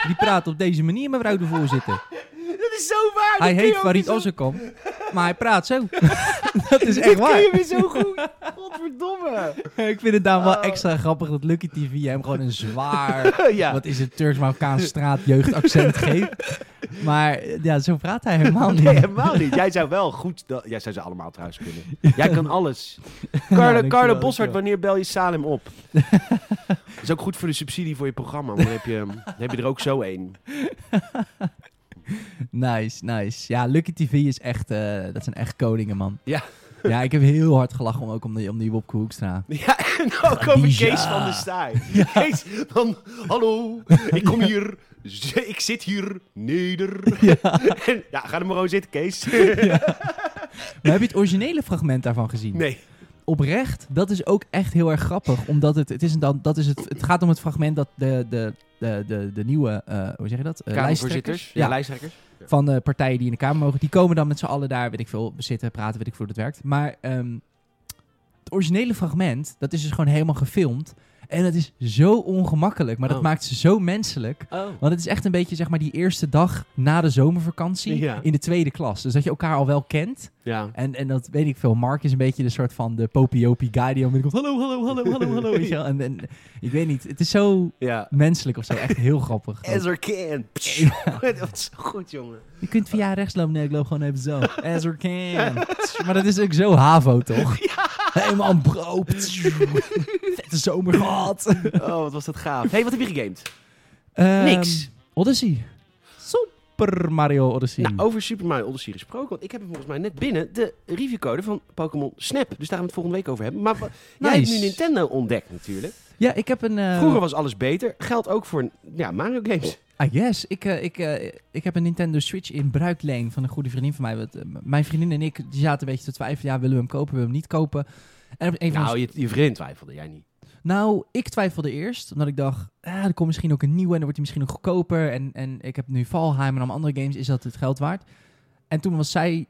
S2: Die praat op deze manier, mevrouw de voorzitter.
S1: Dat is zo waar. dat
S2: Hij
S1: kun
S2: heet
S1: je ook
S2: Farid
S1: weer zo-
S2: Azarkan, maar hij praat zo. dat is
S1: Dit
S2: echt
S1: kun je
S2: waar.
S1: weer zo goed. Godverdomme.
S2: Ik vind het daarom wel
S1: Oh.
S2: extra grappig dat Lucky TV hem gewoon een zwaar...
S1: ja.
S2: Wat is het Turks-Marokkaans straatjeugdaccent geeft. Maar eh, ja, zo praat hij helemaal niet.
S1: Nee, helemaal niet. Jij zou wel goed... dat- Jij zou ze allemaal trouwens kunnen. Jij kan alles. Carlo,
S2: dankjewel,
S1: Carlo
S2: dankjewel.
S1: Bossard, wanneer bel je Salem op? Dat is ook goed voor de subsidie voor je programma. Want dan heb je, dan heb je er ook zo één.
S2: Nice, nice. Ja, Lucky TV is echt... eh, dat zijn echt koningen, man.
S1: Ja.
S2: Ja, ik heb heel hard gelachen om, ook om die, om die Wopke Hoekstra.
S1: Ja, en dan komen
S2: Bizar.
S1: Kees van de Staaij. Kees, dan... Hallo, ik kom hier. Z- Ik zit hier neder. En, ja, ga er maar gewoon zitten, Kees.
S2: Maar heb je het originele fragment daarvan gezien?
S1: Nee.
S2: oprecht, dat is ook echt heel erg grappig. Omdat het, het, is dan, dat is het, het gaat om het fragment dat de, de, de, de, de nieuwe, eh, hoe zeg je dat? Eh, lijsttrekkers.
S1: Ja,
S2: Ja,
S1: lijsttrekkers.
S2: van de partijen die in de Kamer mogen. Die komen dan met z'n allen daar, weet ik veel, zitten, praten, weet ik veel hoe dat werkt. Maar ehm, het originele fragment, dat is dus gewoon helemaal gefilmd. En het is zo ongemakkelijk, maar dat
S1: Oh.
S2: maakt ze zo menselijk.
S1: Oh.
S2: Want het is echt een beetje, zeg maar, die eerste dag na de zomervakantie
S1: Ja.
S2: in de tweede klas. Dus dat je elkaar al wel kent.
S1: Ja.
S2: En, en dat weet ik veel. Mark is een beetje de soort van de popiopie guy die dan binnenkomt. Hallo, hallo, hallo, hallo, hallo. Weet je wel? En, en ik weet niet. Het is zo
S1: Ja.
S2: menselijk of zo. Echt heel grappig.
S1: Ezra Can. Dat is zo goed, jongen.
S2: Je kunt via rechts lopen. Nee, ik loop gewoon even zo. As we can. Maar dat is ook zo havo, toch? Helemaal bro. Vette zomer gehad.
S1: Oh, wat was dat gaaf. hey, wat heb je gegamed?
S2: Ehm,
S1: Niks.
S2: Odyssey. oh.
S1: Zo
S2: Super Mario Odyssey.
S1: Nou, over Super Mario Odyssey gesproken, want ik heb hem volgens mij net binnen de reviewcode van Pokémon Snap. Dus daar gaan we het volgende week over hebben. Maar wa- jij hebt nu
S2: Nice.
S1: Nintendo ontdekt natuurlijk.
S2: ja, ik heb een... eh,
S1: Vroeger was alles beter. Geldt ook voor ja, Mario games.
S2: I guess. Ik, eh, ik, eh, ik heb een Nintendo Switch in bruikleen van een goede vriendin van mij. Want, eh, m- mijn vriendin en ik die zaten een beetje te twijfelen. Ja, willen we hem kopen, willen we hem niet kopen? En op een van
S1: Nou, je, je vriend twijfelde jij niet.
S2: Nou, ik twijfelde eerst, omdat ik dacht, ah, er komt misschien ook een nieuwe en dan wordt hij misschien ook goedkoper. En, en ik heb nu Valheim en allemaal andere games, is dat het geld waard? En toen was zij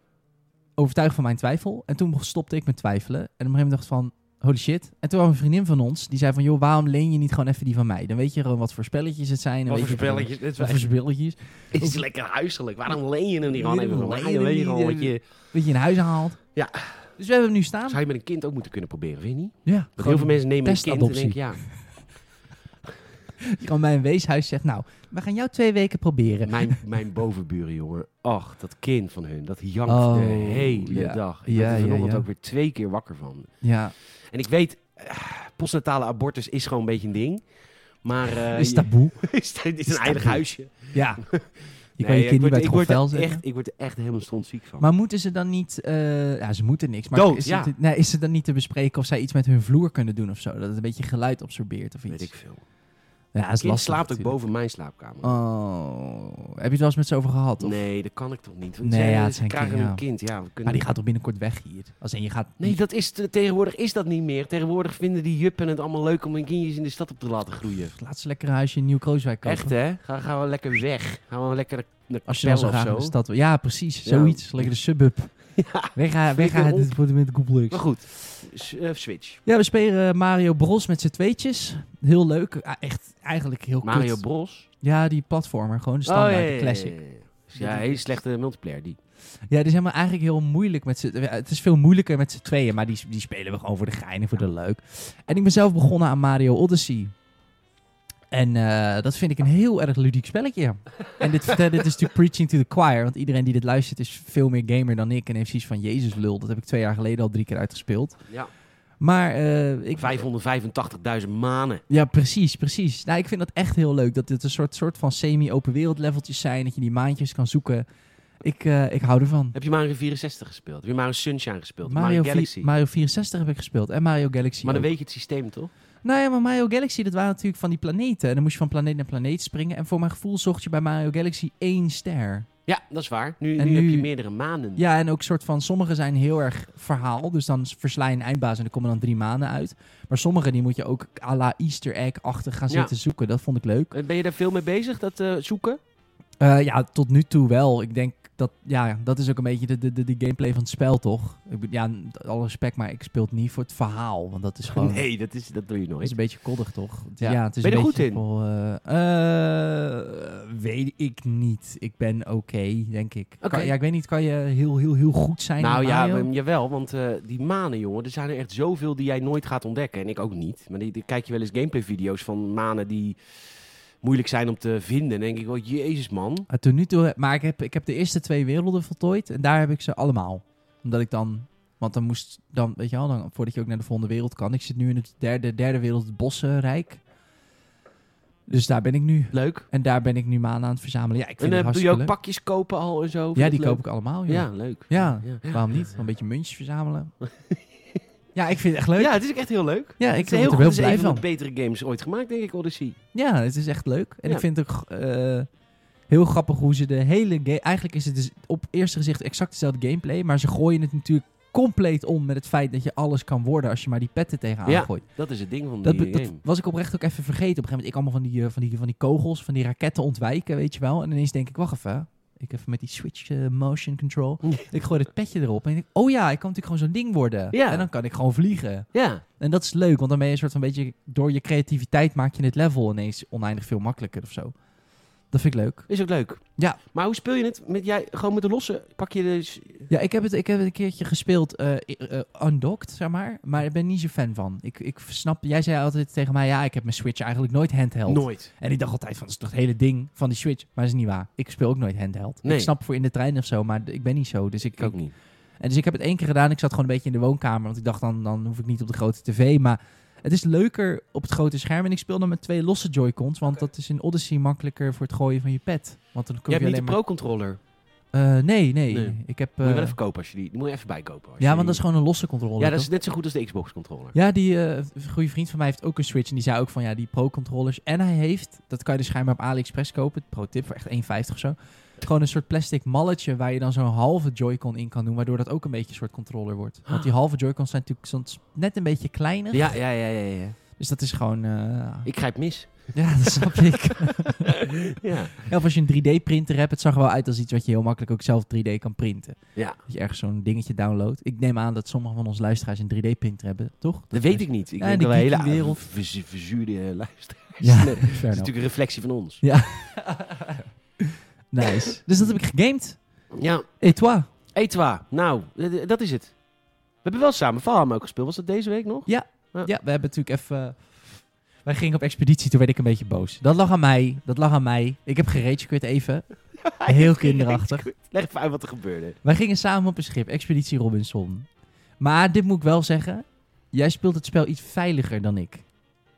S2: overtuigd van mijn twijfel. En toen stopte ik met twijfelen. En op een gegeven moment dacht ik van, holy shit. En toen kwam een vriendin van ons, die zei van, joh, waarom leen je niet gewoon even die van mij? Dan weet je gewoon wat voor spelletjes het zijn. en
S1: Wat
S2: weet
S1: voor
S2: je gewoon-
S1: spelletjes? Dit
S2: Wat voor
S1: is-
S2: spelletjes.
S1: Het is lekker huiselijk. Waarom leen je hem niet gewoon
S2: Nee,
S1: even van
S2: waarom
S1: mij?
S2: leen
S1: Dan
S2: je
S1: weet
S2: eh,
S1: je
S2: hem
S1: gewoon
S2: niet?
S1: wat je...
S2: Dat je in huis haalt.
S1: Ja.
S2: Dus we hebben hem nu staan.
S1: Zou je met een kind ook moeten kunnen proberen, vind je niet?
S2: Ja,
S1: Want
S2: gewoon-
S1: heel veel mensen nemen een kind en
S2: testadoptie.
S1: denken, ja,
S2: die gewoon bij een weeshuis zegt, nou, we gaan jou twee weken proberen.
S1: mijn, mijn bovenburen, jongen. Ach, dat kind van hun, dat jankt
S2: Oh,
S1: de hele
S2: ja.
S1: dag. Ik
S2: Ja,
S1: ben er
S2: ja,
S1: vanochtend
S2: ja.
S1: ook weer twee keer wakker van.
S2: Ja,
S1: En ik weet, eh, postnatale abortus is gewoon een beetje een ding. Maar eh,
S2: is
S1: je-
S2: taboe.
S1: is het is
S2: is
S1: een heilig
S2: taboe.
S1: huisje.
S2: Ja. Je kan
S1: Nee,
S2: je kind niet bij
S1: word-
S2: het
S1: word er
S2: grofvel zetten.
S1: echt, ik word er echt helemaal stondziek van.
S2: Maar moeten ze dan niet... eh, ja, ze moeten niks. Maar
S1: Dood,
S2: is,
S1: ja.
S2: het, nee, is het dan niet te bespreken of zij iets met hun vloer kunnen doen of zo? Dat het een beetje geluid absorbeert of iets?
S1: weet ik veel.
S2: Ja, dat is
S1: kind
S2: lastig
S1: slaapt ook
S2: natuurlijk.
S1: boven mijn slaapkamer.
S2: Oh. Heb je het wel eens met ze over gehad? Of?
S1: Nee, dat kan ik toch niet.
S2: Nee,
S1: Ze-
S2: ja, het
S1: ze
S2: zijn
S1: krijgen
S2: kinderen,
S1: een kind. Ja, we kunnen
S2: Maar die gaat toch binnenkort weg hier? Als in, je gaat...
S1: Nee, dat is te- tegenwoordig is dat niet meer. Tegenwoordig vinden die juppen het allemaal leuk om hun kindjes in de stad op te laten groeien.
S2: Laat ze lekker een huisje in Nieuw-Krooswijk kopen.
S1: Echt hè? Ga, gaan we lekker weg. Gaan we lekker naar
S2: Als je dan zo
S1: Capelle
S2: graag in
S1: of zo.
S2: de stad wil. Ja, precies.
S1: Ja.
S2: Zoiets. Lekker de suburb.
S1: Ja.
S2: Weg uit weg uit
S1: op.
S2: het wordt met Gooblex.
S1: Maar goed, S- eh, Switch.
S2: Ja, we spelen eh, Mario Bros met z'n tweetjes. Heel leuk. Ah, echt, eigenlijk heel
S1: Mario
S2: kut.
S1: Bros.
S2: Ja, die platformer. Gewoon de standaard,
S1: Oh, ja,
S2: de
S1: ja,
S2: classic.
S1: ja, ja. Ja, hele slechte multiplayer die.
S2: Ja, het is helemaal eigenlijk heel moeilijk met z'n... ja, Het is veel moeilijker met z'n tweeën, maar die, die spelen we gewoon voor de gein en voor de leuk. En ik ben zelf begonnen aan Mario Odyssey. En eh, dat vind ik een heel erg ludiek spelletje. En dit, vertel- dit is natuurlijk preaching to the choir, want iedereen die dit luistert is veel meer gamer dan ik. En heeft zoiets van, jezus lul, dat heb ik twee jaar geleden al drie keer uitgespeeld.
S1: Ja.
S2: Maar eh, ik...
S1: 585.000 manen.
S2: Ja, precies, precies. Nou, ik vind dat echt heel leuk. Dat dit een soort, soort van semi-open wereld leveltjes zijn. Dat je die maandjes kan zoeken. Ik, eh, ik hou ervan.
S1: Heb je Mario 64 gespeeld? Heb je Mario Sunshine gespeeld? Mario,
S2: Mario, vi-
S1: Galaxy.
S2: Mario 64 heb ik gespeeld. En Mario Galaxy.
S1: maar dan
S2: ook.
S1: weet je het systeem toch?
S2: Nou ja, maar Mario Galaxy, dat waren natuurlijk van die planeten. En dan moest je van planeet naar planeet springen. En voor mijn gevoel zocht je bij Mario Galaxy één ster.
S1: Ja, dat is waar. Nu,
S2: En
S1: nu heb
S2: nu-
S1: je meerdere manen.
S2: Ja, en ook soort van... Sommige zijn heel erg verhaal. Dus dan versla je een eindbaas en er komen dan drie maanden uit. Maar sommige, die moet je ook à la easter egg-achtig gaan
S1: Ja.
S2: zitten zoeken. Dat vond ik leuk.
S1: Eh, Ben je daar veel mee bezig, dat eh, zoeken?
S2: Eh, ja, tot nu toe wel. Ik denk dat, ja, dat is ook een beetje de, de, de, de gameplay van het spel, toch? Ik, bedoel, ja, met alle respect, maar ik speel het niet voor het verhaal. Want dat is gewoon...
S1: Nee, dat, is, dat doe je
S2: Dat is
S1: nooit.
S2: een beetje koddig, toch?
S1: Ja.
S2: Ja, het is
S1: Ben je
S2: een
S1: er
S2: beetje
S1: goed in?
S2: wel, eh, eh, weet ik niet. Ik ben oké, denk ik.
S1: Oké.
S2: Kan- ja, ik weet niet. Kan je heel, heel, heel goed zijn? in
S1: Nou ja,
S2: Mario?
S1: ehm, jawel, want eh, die manen, jongen, er zijn er echt zoveel die jij nooit gaat ontdekken. En ik ook niet. Maar die, die kijk je wel eens gameplay-video's van manen die moeilijk zijn om te vinden. En denk ik, oh jezus man.
S2: Maar tot nu toe, maar ik heb, ik heb de eerste twee werelden voltooid en daar heb ik ze allemaal. Omdat ik dan, want dan moest, dan, weet je wel, dan, voordat je ook naar de volgende wereld kan. Ik zit nu in het derde, derde wereld, het bossenrijk. Dus daar ben ik nu.
S1: Leuk.
S2: En daar ben ik nu maanden aan het verzamelen. Ja, ik
S1: En
S2: vind
S1: eh,
S2: het
S1: doe je
S2: hartstikke
S1: ook
S2: leuk.
S1: pakjes kopen al en zo? Vind je
S2: Ja,
S1: dat
S2: die
S1: leuk?
S2: koop ik allemaal, joh.
S1: Ja, leuk.
S2: Ja,
S1: Ja.
S2: waarom niet? Een beetje muntjes verzamelen. ja, ik vind het echt leuk.
S1: Ja,
S2: Ja,
S1: het is ook echt heel leuk.
S2: ik
S1: Het is
S2: word
S1: heel
S2: er
S1: goed. Het
S2: heel
S1: is een
S2: blij
S1: van
S2: van.
S1: de betere games ooit gemaakt, denk ik, Odyssey.
S2: Ja, het is echt leuk. En
S1: Ja.
S2: ik vind het ook eh, heel grappig hoe ze de hele game... Eigenlijk is het dus op eerste gezicht exact dezelfde gameplay. Maar ze gooien het natuurlijk compleet om met het feit dat je alles kan worden als je maar die petten tegenaan
S1: Ja,
S2: gooit.
S1: Dat is het ding van
S2: Dat,
S1: die eh,
S2: be- dat
S1: game.
S2: was ik oprecht ook even vergeten. Op een gegeven moment ik allemaal van die, eh, van, die, van die kogels, van die raketten ontwijken, weet je wel. En ineens denk ik, wacht even. Ik even met die switch eh, motion control. ik gooi het petje erop en ik denk, oh ja, ik kan natuurlijk gewoon zo'n ding worden.
S1: Ja.
S2: En dan kan ik gewoon vliegen.
S1: Ja,
S2: En dat is leuk, want dan ben je een soort van beetje... Door je creativiteit maak je het level ineens oneindig veel makkelijker of zo. Dat vind ik leuk.
S1: is ook leuk.
S2: Ja.
S1: Maar hoe speel je het? Met jij, gewoon met de losse? Pak je dus...
S2: Ja, ik heb het, ik heb het een keertje gespeeld eh eh, undocked, zeg maar. Maar ik ben niet zo fan van. Ik, ik snap... Jij zei altijd tegen mij, ja, ik heb mijn Switch eigenlijk nooit handheld.
S1: Nooit.
S2: En ik dacht altijd van, dat is toch het hele ding van die Switch. Maar dat is niet waar. Ik speel ook nooit handheld.
S1: Nee.
S2: Ik snap voor in de trein of zo, maar d- ik ben niet zo. Dus ik,
S1: Ik ook niet.
S2: En dus ik heb het één keer gedaan. Ik zat gewoon een beetje in de woonkamer. Want ik dacht, dan, dan hoef ik niet op de grote tv. Maar Het is leuker op het grote scherm. En ik speel dan met twee losse Joy-Cons. Want dat is in Odyssey makkelijker voor het gooien van je pad. Want dan kun
S1: Je
S2: je,
S1: hebt niet de
S2: alleen maar...
S1: Pro-controller.
S2: Eh, nee, nee,
S1: Nee.
S2: Ik heb...
S1: Moet je
S2: eh,
S1: wel even kopen als je die... die moet je even bijkopen. als je
S2: ja, want
S1: die-
S2: dat is gewoon een losse controller.
S1: Ja, dat
S2: toch?
S1: is net zo goed als de Xbox-controller.
S2: Ja, die eh, een goede vriend van mij heeft ook een Switch. En die zei ook van ja, die Pro-controllers. En hij heeft, dat kan je dus schijnbaar op AliExpress kopen. Pro-tip voor echt 1,50 of zo. Gewoon een soort plastic malletje waar je dan zo'n halve Joy-Con in kan doen. Waardoor dat ook een beetje een soort controller wordt. Want die halve Joy-Cons zijn natuurlijk soms net een beetje kleiner.
S1: Ja, ja, ja, ja. ja.
S2: Dus dat is gewoon. eh,
S1: Ik grijp mis.
S2: Ja, dat snap ik.
S1: ja.
S2: Ja, Of als je een 3D-printer hebt, het zag er wel uit als iets wat je heel makkelijk ook zelf 3D kan printen.
S1: Ja.
S2: Dat je ergens zo'n dingetje downloadt. Ik neem aan dat sommige van onze luisteraars een 3D-printer hebben, toch?
S1: Dat
S2: Dus-
S1: weet ik niet. Ik
S2: Ja,
S1: denk
S2: die
S1: dat wij hele
S2: geeky wereld.
S1: verzu- verzuurde eh, luisteraars.
S2: Ja,
S1: Nee, dat is
S2: fair enough.
S1: natuurlijk een reflectie van ons.
S2: Nice. Dus dat heb ik gegamed.
S1: Ja,
S2: Et toi?
S1: Etwa. Nou, d- d- dat is het. We hebben wel samen Valheim ook gespeeld. Was dat deze week nog?
S2: Ja, we hebben natuurlijk even... eh, Wij gingen op expeditie, toen werd ik een beetje boos. Dat lag aan mij, dat lag aan mij. Ik heb gereedskut even. Heel kinderachtig.
S1: Leg even uit wat er gebeurde.
S2: Wij gingen samen op een schip, Expeditie Robinson. Maar dit moet ik wel zeggen, jij speelt het spel iets veiliger dan ik.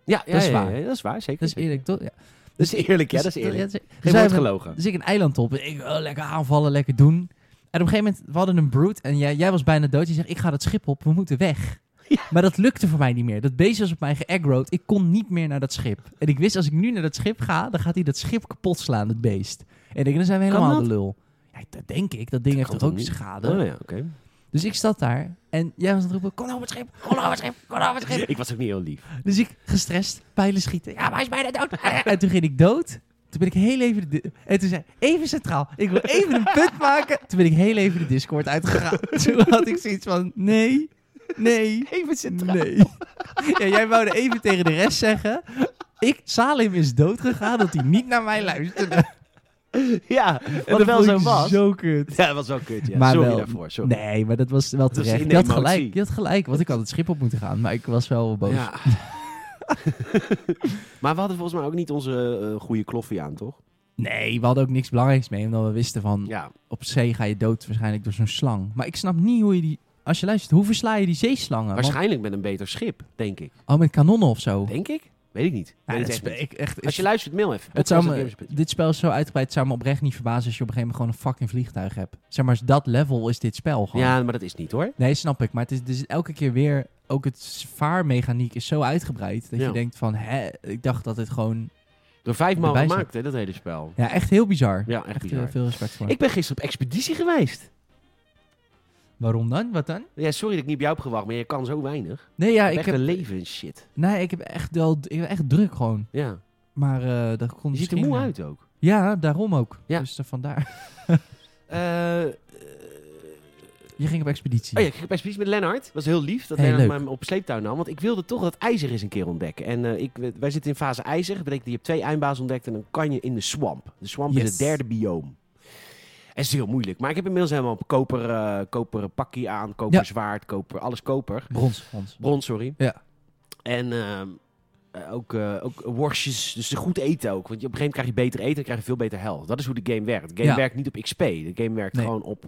S1: Ja,
S2: Dat is
S1: ja, ja,
S2: waar.
S1: ja, dat is waar, zeker.
S2: Dat is
S1: zeker.
S2: eerlijk, toch? Ja.
S1: Dat is eerlijk, ja,
S2: Dus-
S1: dat is eerlijk.
S2: ja,
S1: Geen
S2: zij
S1: woord
S2: hebben-
S1: gelogen.
S2: Dus ik een eiland op. Ik oh, lekker aanvallen, lekker doen. En op een gegeven moment, we hadden een brood en jij, jij was bijna dood. Je zegt, ik ga dat schip op, we moeten weg.
S1: Ja.
S2: Maar dat lukte voor mij niet meer. Dat beest was op mij geaggroed. Ik kon niet meer naar dat schip. En ik wist, als ik nu naar dat schip ga, dan gaat hij dat schip kapot slaan, dat beest. En ik denk, dan zijn we
S1: Kan
S2: helemaal
S1: dat?
S2: de lul. Ja, dat denk ik. Dat ding heeft
S1: kan
S2: toch ook
S1: toch niet?
S2: schade.
S1: Oh ja, oké.
S2: Dus ik zat daar en jij was aan het roepen, kom nou op het schip, kom nou op het schip, kom nou op het schip.
S1: Ik was ook niet heel lief.
S2: Dus ik gestrest, pijlen schieten. Ja, maar hij is bijna dood. En toen ging ik dood. Toen ben ik heel even de... di- En toen zei ik, even centraal. Ik wil even een punt maken. Toen ben ik heel even de Discord uitgegaan. Toen had ik zoiets van, nee, nee,
S1: Even centraal.
S2: nee. Ja, jij wou er even tegen de rest zeggen. Ik, Salim is dood gegaan dat hij niet naar mij luisterde.
S1: Ja, en
S2: Wat
S1: dat wel
S2: vond ik
S1: zo was.
S2: zo kut.
S1: Ja, dat was wel kut, ja.
S2: Maar
S1: sorry
S2: wel-
S1: daarvoor, sorry.
S2: Nee, maar dat was wel
S1: Dat is
S2: terecht.
S1: in
S2: Je had
S1: emotie.
S2: gelijk, je had gelijk. Want ik had het schip op moeten gaan. Maar ik was wel boos.
S1: Ja. maar we hadden volgens mij ook niet onze eh, goede kloffie aan, toch?
S2: Nee, we hadden ook niks belangrijks mee. Omdat we wisten van,
S1: Ja.
S2: op zee ga je dood waarschijnlijk door zo'n slang. Maar ik snap niet hoe je die... Als je luistert, hoe versla je die zeeslangen? Want-
S1: Waarschijnlijk met een beter schip, denk ik.
S2: oh, met kanonnen of zo.
S1: Denk ik? Weet ik niet.
S2: Ja,
S1: Weet
S2: dat
S1: het
S2: is
S1: echt niet.
S2: ik- echt,
S1: Als je luistert, mail even.
S2: het zou me,
S1: Podcast@gamers.nl.
S2: dit spel is zo uitgebreid, het zou me oprecht niet verbazen als je op een gegeven moment gewoon een fucking vliegtuig hebt. Zeg maar, dat level is dit spel gewoon.
S1: Ja, maar dat is niet hoor.
S2: Nee, snap ik. Maar het is, er zit elke keer weer... Ook het vaarmechaniek is zo uitgebreid dat
S1: Ja.
S2: je denkt van... Hè, ik dacht dat het gewoon...
S1: Door vijf man
S2: Erbij staat.
S1: gemaakt, hè, dat hele spel.
S2: Ja, echt heel bizar.
S1: Ja, echt
S2: eh,
S1: bizar.
S2: veel respect voor.
S1: Ik ben gisteren op expeditie geweest.
S2: Waarom dan? Wat dan?
S1: Ja, sorry dat ik niet op jou heb gewacht, maar je kan zo weinig.
S2: Nee, ja,
S1: ik
S2: ik
S1: echt
S2: heb,
S1: een leven en shit.
S2: nee, ik heb echt wel... Ik ben echt druk gewoon.
S1: Ja.
S2: Maar eh dat kon
S1: Je ziet er
S2: misschien-
S1: moe uit ook.
S2: Ja, daarom ook.
S1: Ja.
S2: Dus eh, vandaar.
S1: Eh, eh,
S2: Je ging op expeditie.
S1: oh ja, ik ging op expeditie met Lennart. was heel lief dat
S2: Hey,
S1: Lennart
S2: leuk.
S1: me op sleeptouw nam. Want ik wilde toch dat ijzer eens een keer ontdekken. En eh, ik, wij zitten in fase ijzer. Dat betekent, je hebt twee eindbaas ontdekt en dan kan je in de swamp. De swamp is
S2: Yes.
S1: het derde bioom. En is heel moeilijk. Maar ik heb inmiddels helemaal op koper, eh koper pakkie aan. Koper
S2: Ja.
S1: zwaard, koper, alles koper.
S2: Brons, brons.
S1: Bron, sorry.
S2: Ja.
S1: En ehm, eh, ook, eh, ook worstjes, dus goed eten ook. Want je- op een gegeven moment krijg je beter eten en krijg je veel beter health. Dat is hoe de game werkt. De game
S2: Ja.
S1: werkt niet op XP. De game werkt
S2: Nee.
S1: gewoon op...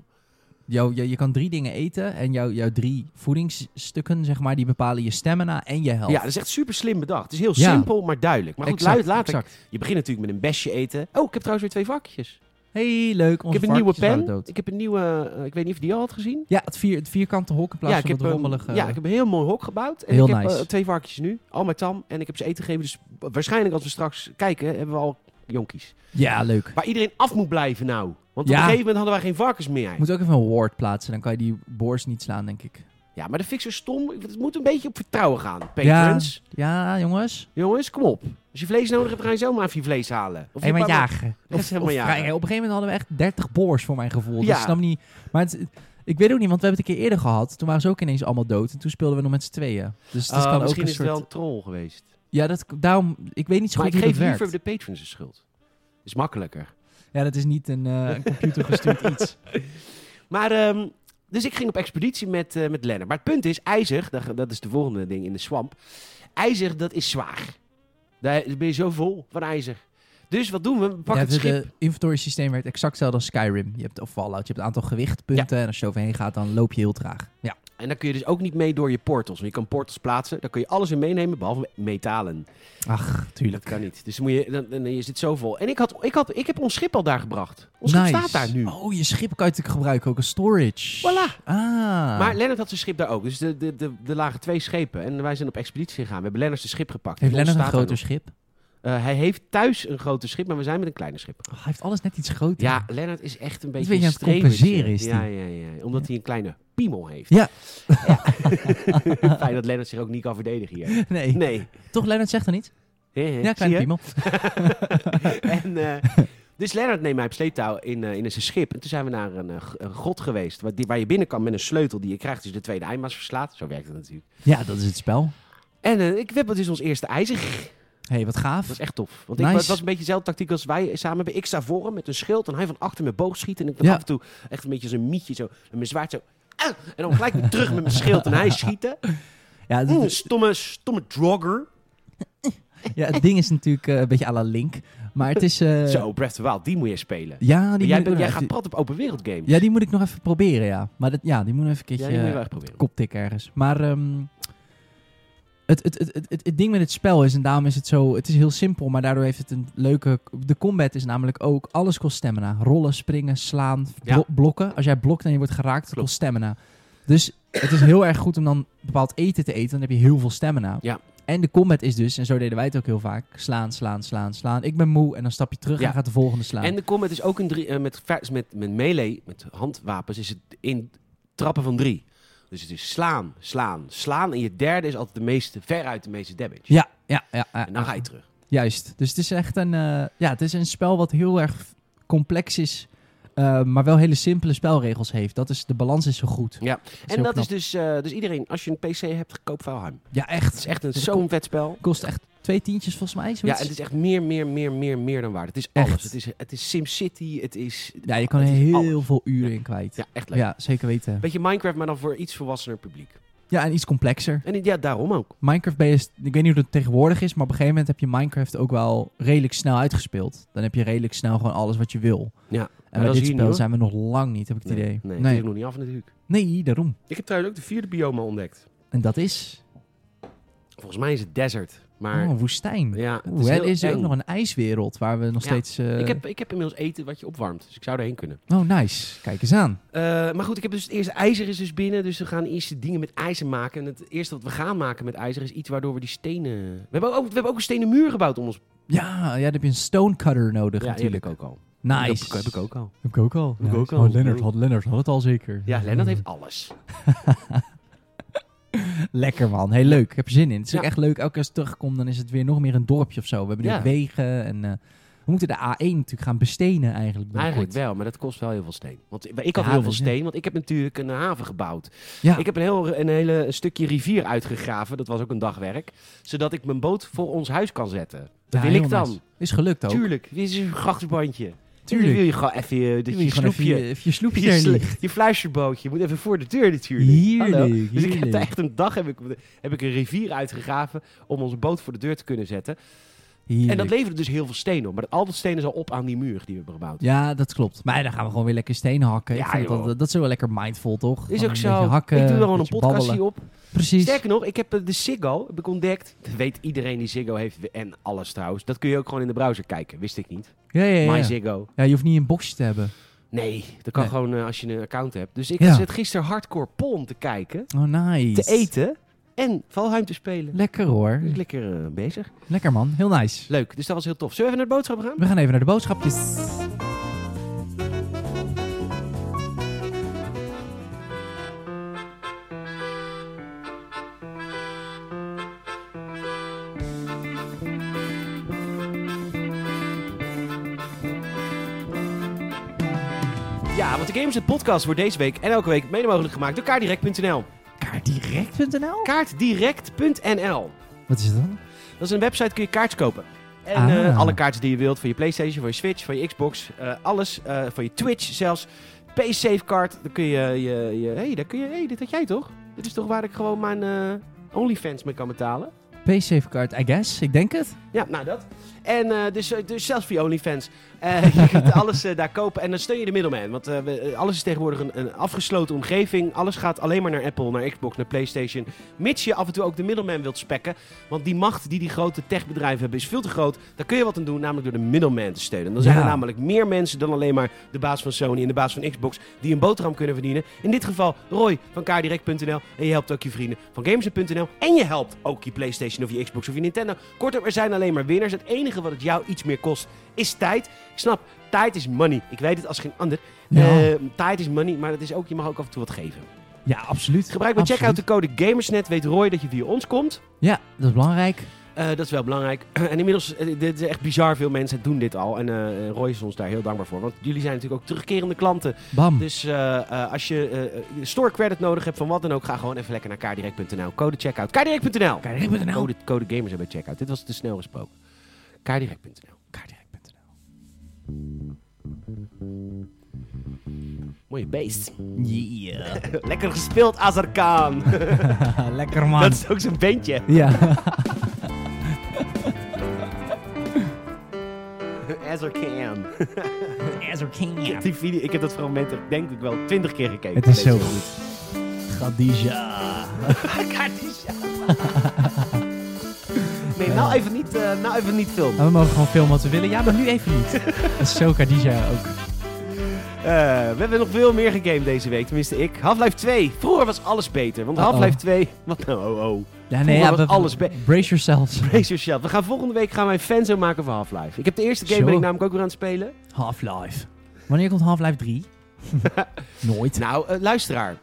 S2: Jou, jou- je kan drie dingen eten en jou, jouw drie voedingsstukken, zeg maar, die bepalen je stamina en je health.
S1: Ja, dat is echt super slim bedacht. Het is heel
S2: Ja.
S1: simpel, maar duidelijk. Maar goed, luid later.
S2: exact.
S1: Je begint natuurlijk met een besje eten. Oh, ik heb trouwens weer twee vakjes.
S2: Hey, leuk.
S1: Ik
S2: Onze
S1: heb een nieuwe
S2: varkentjes waren
S1: pen.
S2: Dood.
S1: Ik heb een nieuwe... eh, ik weet niet of je die al had gezien.
S2: Ja, het, vier, het vierkante hok in plaats
S1: ja, ik
S2: van
S1: heb
S2: het rommelige...
S1: een, ja, ik heb een heel mooi hok gebouwd. En
S2: Heel
S1: ik heb
S2: nice.
S1: eh, twee varkentjes nu. Al mijn tam. En ik heb ze eten gegeven. Dus waarschijnlijk als we straks kijken, hebben we al jonkies.
S2: Ja, leuk.
S1: Waar iedereen af moet blijven nou. Want
S2: Ja.
S1: op een gegeven moment hadden wij geen varkens meer.
S2: Ik moet ook even een ward plaatsen, dan kan je die boors niet slaan, denk ik.
S1: Ja, maar dat vind ik zo stom. Het moet een beetje op vertrouwen gaan. Patrons,
S2: Ja, jongens.
S1: jongens, kom op. Als je vlees nodig hebt, ga je zelf maar even je vlees halen. Of je
S2: helemaal
S1: pa-
S2: jagen.
S1: Dat is
S2: Of,
S1: helemaal
S2: of
S1: jagen.
S2: vrij- Op een gegeven moment hadden we echt 30 boors voor mijn gevoel. Dus
S1: Ja.
S2: ik snap niet. Maar het, ik weet ook niet, want we hebben het een keer eerder gehad. Toen waren ze ook ineens allemaal dood. En toen speelden we nog met z'n tweeën. Dus het
S1: Oh,
S2: kan ook
S1: misschien
S2: een
S1: is het
S2: soort.
S1: wel een troll geweest.
S2: Ja, dat, daarom. Ik weet niet zo
S1: maar
S2: goed
S1: ik
S2: hoe dat
S1: geef
S2: werkt.
S1: liever de patrons de schuld. Is makkelijker.
S2: Ja, dat is niet een, eh, een computergestuurd iets.
S1: Maar, ehm, dus ik ging op expeditie met, eh met Lennart. Maar het punt is, ijzer, dat, dat is de volgende ding in de swamp. Ijzer, dat is zwaar. Daar ben je zo vol van ijzer. Dus wat doen we? We pakken
S2: Ja,
S1: het
S2: de,
S1: schip.
S2: de inventory systeem werkt exact hetzelfde als Skyrim. Je hebt of Fallout. Je hebt een aantal gewichtpunten. En als je overheen gaat, dan loop je heel traag. Ja.
S1: En dan kun je dus ook niet mee door je portals. Want je kan portals plaatsen, daar kun je alles in meenemen, behalve metalen.
S2: Ach, tuurlijk.
S1: Dat kan niet. Dus dan moet je, dan, dan, dan is het zo vol. En ik, had, ik, had, ik heb ons schip al daar gebracht. Ons schip staat daar nu.
S2: Oh, je schip kan je natuurlijk gebruiken ook als storage.
S1: Voilà.
S2: Ah.
S1: Maar Lennart had zijn schip daar ook. Dus de, de, de, er lagen twee schepen. En wij zijn op expeditie gegaan. We hebben Lennart zijn schip gepakt.
S2: heeft
S1: En ons
S2: Lennart een
S1: staat daar
S2: groter schip?
S1: nog. Eh, hij heeft thuis een groter schip, maar we zijn met een kleiner schip.
S2: Oh, hij heeft alles net iets groter.
S1: Ja, Lennart is echt een beetje
S2: weet je, aan
S1: een
S2: het compenseren
S1: strevertje.
S2: is die.
S1: Ja, ja, ja. Omdat hij een kleine piemel heeft.
S2: Ja.
S1: Ja. Fijn dat Lennart zich ook niet kan verdedigen hier.
S2: Nee.
S1: Nee.
S2: Toch, Lennart zegt er niet?
S1: Hè, hè,
S2: Ja,
S1: zie
S2: kleine
S1: je?
S2: piemel.
S1: en, eh, dus Lennart neemt mij op sleeptouw in, eh, in zijn schip. En toen zijn we naar een, eh, g- een grot geweest. Waar, die, waar je binnen kan met een sleutel die je krijgt als je de tweede eindmaas verslaat. Zo werkt het natuurlijk.
S2: Ja, dat is het spel.
S1: En eh, ik heb dus ons eerste ijzer gegeven.
S2: Hé, hey, wat
S1: Dat
S2: gaaf.
S1: was echt tof. Want ik,
S2: Nice.
S1: het was een beetje dezelfde tactiek als wij samen hebben. Ik sta voor hem met een schild en hij van achter met boog schieten. En ik dan
S2: Ja.
S1: af en toe echt een beetje zo'n mietje zo. En mijn zwaard zo. ah, en dan gelijk weer terug met mijn schild en hij schieten.
S2: Ja, d-
S1: Oeh, stomme, stomme drogger.
S2: ja, het ding is natuurlijk eh, een beetje à la Link. Maar het is... eh,
S1: Zo, Breath of the Wild, die moet je spelen.
S2: Ja, die
S1: jij,
S2: moet ik
S1: bent-
S2: nog
S1: jij
S2: even-
S1: gaat prat op open wereld games.
S2: Ja, die moet ik nog even proberen, ja. Maar dat, ja, die moet even een
S1: Ja,
S2: keertje
S1: die moet je wel
S2: eh,
S1: echt proberen.
S2: koptik ergens. Maar ehm, het, het, het, het, het, het ding met het spel is, en daarom is het zo... Het is heel simpel, maar daardoor heeft het een leuke... De combat is namelijk ook... Alles kost stamina. Rollen, springen, slaan,
S1: Ja.
S2: blo- blokken. Als jij blokt en je wordt geraakt, dat
S1: Klopt.
S2: kost stamina. Dus het is heel erg goed om dan bepaald eten te eten. Dan heb je heel veel stamina.
S1: Ja.
S2: En de combat is dus, en zo deden wij het ook heel vaak... Slaan, slaan, slaan, slaan. Ik ben moe en dan stap je terug
S1: Ja.
S2: en gaat de volgende slaan.
S1: En de combat is ook een drie, eh, met, ver- met, met melee, met handwapens, is het in trappen van drie. Dus het is slaan, slaan, slaan. En je derde is altijd de meeste, veruit de meeste damage.
S2: Ja, ja, ja. ja,
S1: En dan
S2: ja.
S1: ga je terug.
S2: Juist. Dus het is echt een, eh, ja, het is een spel wat heel erg complex is, eh, maar wel hele simpele spelregels heeft. Dat is, de balans is zo goed.
S1: Ja.
S2: heel
S1: en dat
S2: knap.
S1: is dus, eh, dus iedereen, als je een PC hebt, koop Valheim.
S2: Ja,
S1: Het
S2: echt.
S1: is echt een,
S2: Dus
S1: zo'n vet spel.
S2: kost echt twee tientjes volgens mij.
S1: Ja,
S2: Zoiets.
S1: en het is echt meer, meer, meer, meer, meer dan waard. Het is
S2: Echt.
S1: alles. Het is, het is SimCity, het is...
S2: Ja, je kan
S1: het
S2: er
S1: is
S2: heel
S1: alles.
S2: veel uren in kwijt. Ja,
S1: Ja, echt leuk.
S2: zeker weten.
S1: Beetje Minecraft, maar dan voor iets volwassener publiek.
S2: Ja, en iets complexer.
S1: En ja, daarom ook.
S2: Minecraft based, ik weet niet hoe dat tegenwoordig is, maar op een gegeven moment heb je Minecraft ook wel redelijk snel uitgespeeld. Dan heb je redelijk snel gewoon alles wat je wil.
S1: Ja,
S2: En
S1: dat
S2: bij
S1: is
S2: dit
S1: hier
S2: spel
S1: niet, hoor.
S2: zijn we nog lang niet, heb ik het
S1: nee,
S2: idee.
S1: Nee,
S2: nee.
S1: het is nog niet af natuurlijk.
S2: Nee, daarom.
S1: Ik heb trouwens ook de vierde bioma ontdekt.
S2: En dat is
S1: Volgens mij is het desert. Maar
S2: oh, woestijn.
S1: ja, het
S2: Oeh, hè,
S1: heel
S2: er is er ook
S1: eng.
S2: nog een ijswereld waar we nog
S1: Ja,
S2: steeds... eh,
S1: ik, heb, ik heb inmiddels eten wat je opwarmt. Dus ik zou daarheen kunnen.
S2: Oh, nice. Kijk eens aan.
S1: Eh, maar goed, ik heb dus het eerste ijzer is dus binnen. Dus we gaan eerst de dingen met ijzer maken. En het eerste wat we gaan maken met ijzer is iets waardoor we die stenen... We hebben ook, we hebben ook een stenen muur gebouwd om ons...
S2: Ja, ja, dan heb je een stonecutter nodig
S1: die
S2: natuurlijk.
S1: heb ik ook al.
S2: Nice.
S1: Dat heb ik ook al.
S2: Heb ik ook al.
S1: Heb ik ook
S2: Nice.
S1: al.
S2: Oh, Lennart had, Lennart had het al zeker.
S1: Ja, Lennart heeft alles.
S2: Lekker man. Heel leuk. Ik heb er zin in. Het is ook
S1: Ja.
S2: echt leuk. Elke keer als het terugkomt, dan is het weer nog meer een dorpje of zo. We hebben nu
S1: Ja.
S2: ook wegen en... eh, we moeten de A1 natuurlijk gaan bestenen eigenlijk. binnenkort.
S1: Eigenlijk wel, maar dat kost wel heel veel steen. Want ik had
S2: Ja,
S1: heel
S2: dat
S1: veel
S2: is-
S1: steen, want ik heb natuurlijk een haven gebouwd.
S2: Ja.
S1: Ik heb een, heel, een hele een stukje rivier uitgegraven. Dat was ook een dagwerk. Zodat ik mijn boot voor ons huis kan zetten. Dat
S2: Ja,
S1: wil ik
S2: heel
S1: dan.
S2: nice. Is gelukt ook.
S1: Tuurlijk. Dit is een grachtsbandje.
S2: Tuurlijk.
S1: Dan wil je gewoon even je, dat
S2: Je
S1: je,
S2: moet gewoon even
S1: snoepje...
S2: je, even je sloepje
S1: Je,
S2: erin
S1: sl-
S2: leggen.
S1: je fluisterbootje moet even voor de deur natuurlijk.
S2: Heerlijk,
S1: Hallo. Dus ik heb
S2: heerlijk.
S1: daar echt een dag heb ik, heb ik een rivier uitgegraven om onze boot voor de deur te kunnen zetten. En dat
S2: Heerlijk.
S1: leverde dus heel veel stenen op. Maar al dat stenen is al op aan die muur die we hebben gebouwd.
S2: Ja, dat klopt. Maar dan gaan we gewoon weer lekker steen hakken.
S1: Ja,
S2: ik vind
S1: joh.
S2: dat, dat is wel lekker mindful, toch? Gewoon
S1: Is
S2: een
S1: ook
S2: beetje
S1: zo.
S2: Hakken,
S1: ik doe er gewoon een
S2: beetje
S1: podcastje
S2: babbelen.
S1: op.
S2: Precies.
S1: Sterker nog, ik heb eh, de Ziggo heb ik ontdekt. Dat weet iedereen die Ziggo heeft en alles trouwens. Dat kun je ook gewoon in de browser kijken. Wist ik niet.
S2: Ja, ja, ja.
S1: My
S2: ja.
S1: Ziggo.
S2: Ja, je hoeft niet een boxje te hebben.
S1: Nee, dat kan
S2: Nee.
S1: gewoon eh, als je een account hebt. Dus ik
S2: Ja.
S1: zit gisteren hardcore Pon te kijken,
S2: Oh, nice.
S1: te eten en Valheim te spelen.
S2: Lekker hoor.
S1: Dus lekker eh, bezig.
S2: Lekker man. Heel nice.
S1: Leuk, dus dat was heel tof. Zullen we even naar de boodschap gaan?
S2: We gaan even naar de boodschapjes.
S1: Ja, want de Games het podcast wordt deze week en elke week mede mogelijk gemaakt door kaartdirect.nl.
S2: Kaartdirect.nl?
S1: Kaartdirect.nl.
S2: Wat is dat dan?
S1: Dat is een website, kun je kaartjes kopen. En
S2: Ah.
S1: eh, alle kaarten die je wilt, voor je Playstation, voor je Switch, voor je Xbox, eh, alles, eh, voor je Twitch zelfs. PaySafe card, dan kun je, je, je hey, daar kun je, hey, dit had jij toch? Dit is toch waar ik gewoon mijn eh, OnlyFans mee kan betalen?
S2: Paysafecard, I guess. Ik denk het.
S1: Ja, nou dat. En eh, dus, eh, dus zelfs via OnlyFans. eh, je kunt alles eh, daar kopen en dan steun je de middleman. Want eh, we- eh, alles is tegenwoordig een, een afgesloten omgeving. Alles gaat alleen maar naar Apple, naar Xbox, naar PlayStation. Mits je af en toe ook de middleman wilt spekken. Want die macht die die grote techbedrijven hebben is veel te groot. Daar kun je wat aan doen, namelijk door de middleman te steunen. Dan zijn
S2: Ja.
S1: er namelijk meer mensen dan alleen maar de baas van Sony en de baas van Xbox... die een boterham kunnen verdienen. In dit geval Roy van kaardirect.nl. En je helpt ook je vrienden van Gamezen.nl. En je helpt ook je PlayStation of je Xbox of je Nintendo. Kortom, er zijn alleen maar winnaars. Het enige wat het jou iets meer kost is tijd. Ik snap, tijd is money. Ik weet het als geen ander.
S2: Ja,
S1: Eh, tijd is money, maar dat is ook, je mag ook af en toe wat geven.
S2: ja absoluut.
S1: Gebruik bij
S2: Absoluut.
S1: checkout de code GamersNet. Weet Roy dat je via ons komt.
S2: Ja, dat is belangrijk.
S1: Eh, dat is wel belangrijk. en inmiddels, eh, dit is echt bizar. Veel mensen doen dit al. En eh, Roy is ons daar heel dankbaar voor. Want jullie zijn natuurlijk ook terugkerende klanten.
S2: Bam.
S1: Dus eh, eh, als je eh, store credit nodig hebt van wat dan ook, ga gewoon even lekker naar kaardirect.nl. Code checkout. kaardirect.nl.
S2: Kaardirect.nl.
S1: Code, code gamers hebben checkout. Dit was te snel gesproken. kaardirect.nl.
S2: Kaardirect.nl.
S1: Mooie beest.
S2: Yeah.
S1: lekker gespeeld, Azarkan.
S2: Lekker man.
S1: Dat is ook zijn bandje.
S2: Ja.
S1: Azarkan. Ik, heb
S2: Azarkan.
S1: die video, ik heb dat fragment echt, denk ik wel twintig keer gekeken.
S2: Het is zo
S1: Deze-
S2: goed. Khadija.
S1: Kaardirect. Nee, nou even niet, eh, nou even niet filmen.
S2: En we mogen gewoon filmen wat we willen. Ja, maar nu even niet. Dat is zo Khadija ook.
S1: Eh, we hebben nog veel meer gegamed deze week, tenminste ik. Half-Life 2. Vroeger was alles beter, want
S2: Uh-oh.
S1: Half-Life 2... Wat nou, oh, oh.
S2: Ja,
S1: Vroeger
S2: nee, ja,
S1: was
S2: we-
S1: alles be-
S2: Brace yourselves.
S1: Raise yourself. We gaan volgende week gaan wij een fanzone maken van Half-Life. Ik heb de eerste game
S2: Zo.
S1: ben ik namelijk ook weer aan het spelen.
S2: Half-Life. Wanneer komt Half-Life 3? Nooit.
S1: Nou, eh, luisteraar.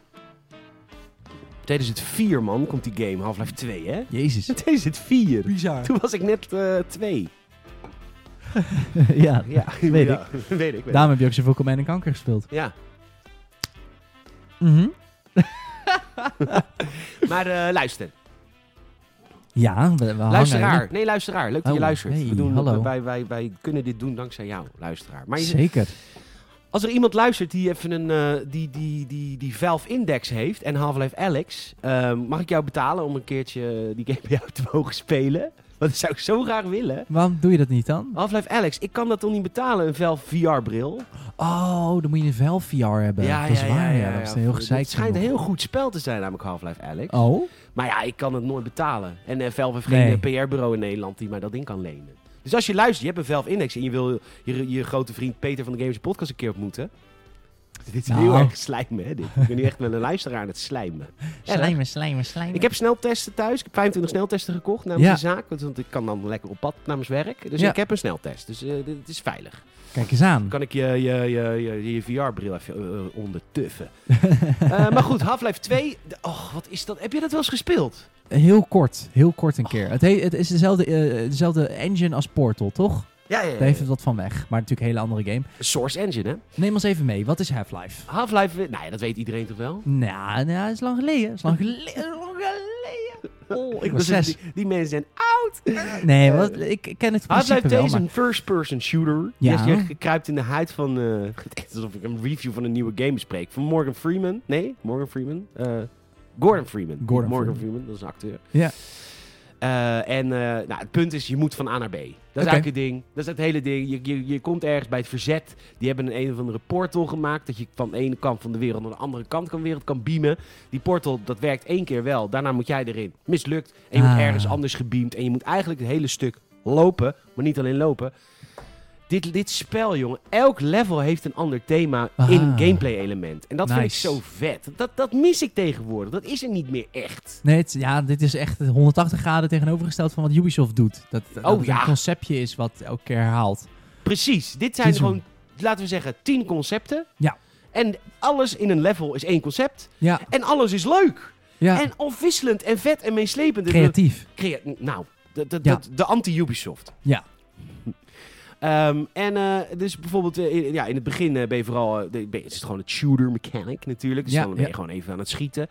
S1: 2004, man, komt die game Half-Life 2, hè?
S2: Jezus.
S1: 2004.
S2: Bizar.
S1: Toen was ik net eh, twee.
S2: ja. Nou.
S1: Ja,
S2: Weet
S1: Ja, weet ik. Weet ik.
S2: Daarom heb je ook zoveel Command en Kanker gespeeld.
S1: Ja.
S2: Mhm.
S1: Maar eh, luister.
S2: Ja, we, we hangen
S1: Luisteraar.
S2: erin.
S1: Nee, luisteraar. Leuk dat je
S2: Oh,
S1: luistert.
S2: hey,
S1: We doen,
S2: hallo.
S1: Wij, wij, wij kunnen dit doen dankzij jou, luisteraar. Maar je,
S2: Zeker.
S1: Als er iemand luistert die even een eh, die, die, die, die Valve Index heeft en Half-Life Alex, ehm, mag ik jou betalen om een keertje eh, die game bij jou te mogen spelen? Want dat zou ik zo graag willen.
S2: Waarom doe je dat niet dan?
S1: Half-Life Alex, ik kan dat toch niet betalen, een Valve VR-bril?
S2: Oh, dan moet je een Valve VR hebben. dat is waar, ja. Dat is een heel gezeik.
S1: Het schijnt een
S2: genoeg.
S1: heel goed spel te zijn, namelijk Half-Life Alex.
S2: Oh?
S1: Maar ja, ik kan het nooit betalen. En eh, Valve heeft geen
S2: Nee.
S1: eh, PR-bureau in Nederland die mij dat in kan lenen. Dus als je luistert, je hebt een Valve Index en je wil je, je grote vriend Peter van de Games Podcast een keer ontmoeten. Dit is
S2: Nou.
S1: heel erg slijmen, hè? Dit. Ik ben nu echt wel een luisteraar aan het slijmen. Ja,
S2: Slijmen, slijmen, slijmen.
S1: Ik heb sneltesten thuis. Ik heb 25 sneltesten gekocht namens
S2: Ja.
S1: de zaak. want- Want ik kan dan lekker op pad namens werk. Dus
S2: Ja.
S1: ik heb een sneltest. Dus eh, dit het is veilig.
S2: Kijk eens aan.
S1: Dan kan ik je, je, je, je, je VR-bril even eh, ondertuffen. Eh, maar goed, Half-Life 2. de- Och, wat is dat? Heb je dat wel eens gespeeld?
S2: Heel kort. Heel kort een keer. Het, he- het is dezelfde, eh, dezelfde engine als Portal, toch?
S1: Ja, ja, ja.
S2: Daar heeft het wat van weg. Maar natuurlijk een hele andere game.
S1: Source Engine, hè?
S2: Neem ons even mee. Wat is Half-Life?
S1: Half-Life, eh, nou ja, dat weet iedereen toch wel?
S2: Nou, nou, dat is lang geleden. Dat is lang geleden. Lang geleden. Oh, ik was
S1: Dat
S2: zes.
S1: is- Die, die mensen zijn...
S2: Nee,
S1: Eh,
S2: wat, ik ik ken het
S1: Half-Life
S2: principe
S1: 2
S2: wel,
S1: is
S2: maar...
S1: een first-person shooter.
S2: Ja.
S1: Je, je kruipt in de huid van... eh, het is alsof ik een review van een nieuwe game bespreek. Van Morgan Freeman. Nee, Morgan Freeman. Eh, Gordon Freeman.
S2: Gordon
S1: Morgan
S2: Freeman.
S1: Freeman. dat is een acteur.
S2: Ja.
S1: Eh, en eh, nou, het punt is, je moet van A naar B. Dat is eigenlijk het ding. Dat is het hele ding. Je, je, je komt ergens bij het verzet. Die hebben een, een of andere portal gemaakt. Dat je van de ene kant van de wereld naar de andere kant van de wereld kan beamen. Die portal, dat werkt één keer wel. Daarna moet jij erin. Mislukt. En je
S2: Ah.
S1: moet ergens anders gebeamd. En je moet eigenlijk het hele stuk lopen. Maar niet alleen lopen. Dit, dit spel, jongen. Elk level heeft een ander thema
S2: Ah.
S1: in gameplay element. En dat vind ik
S2: Nice.
S1: zo vet. Dat, dat mis ik tegenwoordig. Dat is er niet meer echt.
S2: Nee, het- ja, dit is echt 180 graden tegenovergesteld van wat Ubisoft doet. Dat, dat,
S1: Oh,
S2: het
S1: ja.
S2: een conceptje is wat elke keer herhaalt.
S1: Precies. Dit zijn
S2: Kies hem.
S1: gewoon, laten we zeggen, tien concepten.
S2: Ja.
S1: En alles in een level is één concept.
S2: Ja,
S1: En alles is leuk.
S2: ja.
S1: En afwisselend en vet en meeslepend.
S2: creatief.
S1: Crea- nou, de, de,
S2: Ja.
S1: de, de anti-Ubisoft.
S2: Ja.
S1: Ehm, en eh, dus bijvoorbeeld, eh, in, ja, in het begin eh, ben je vooral, eh, de- ben- het is gewoon het shooter mechanic natuurlijk. Dus
S2: Ja,
S1: dan ben je
S2: ja.
S1: gewoon even aan het schieten.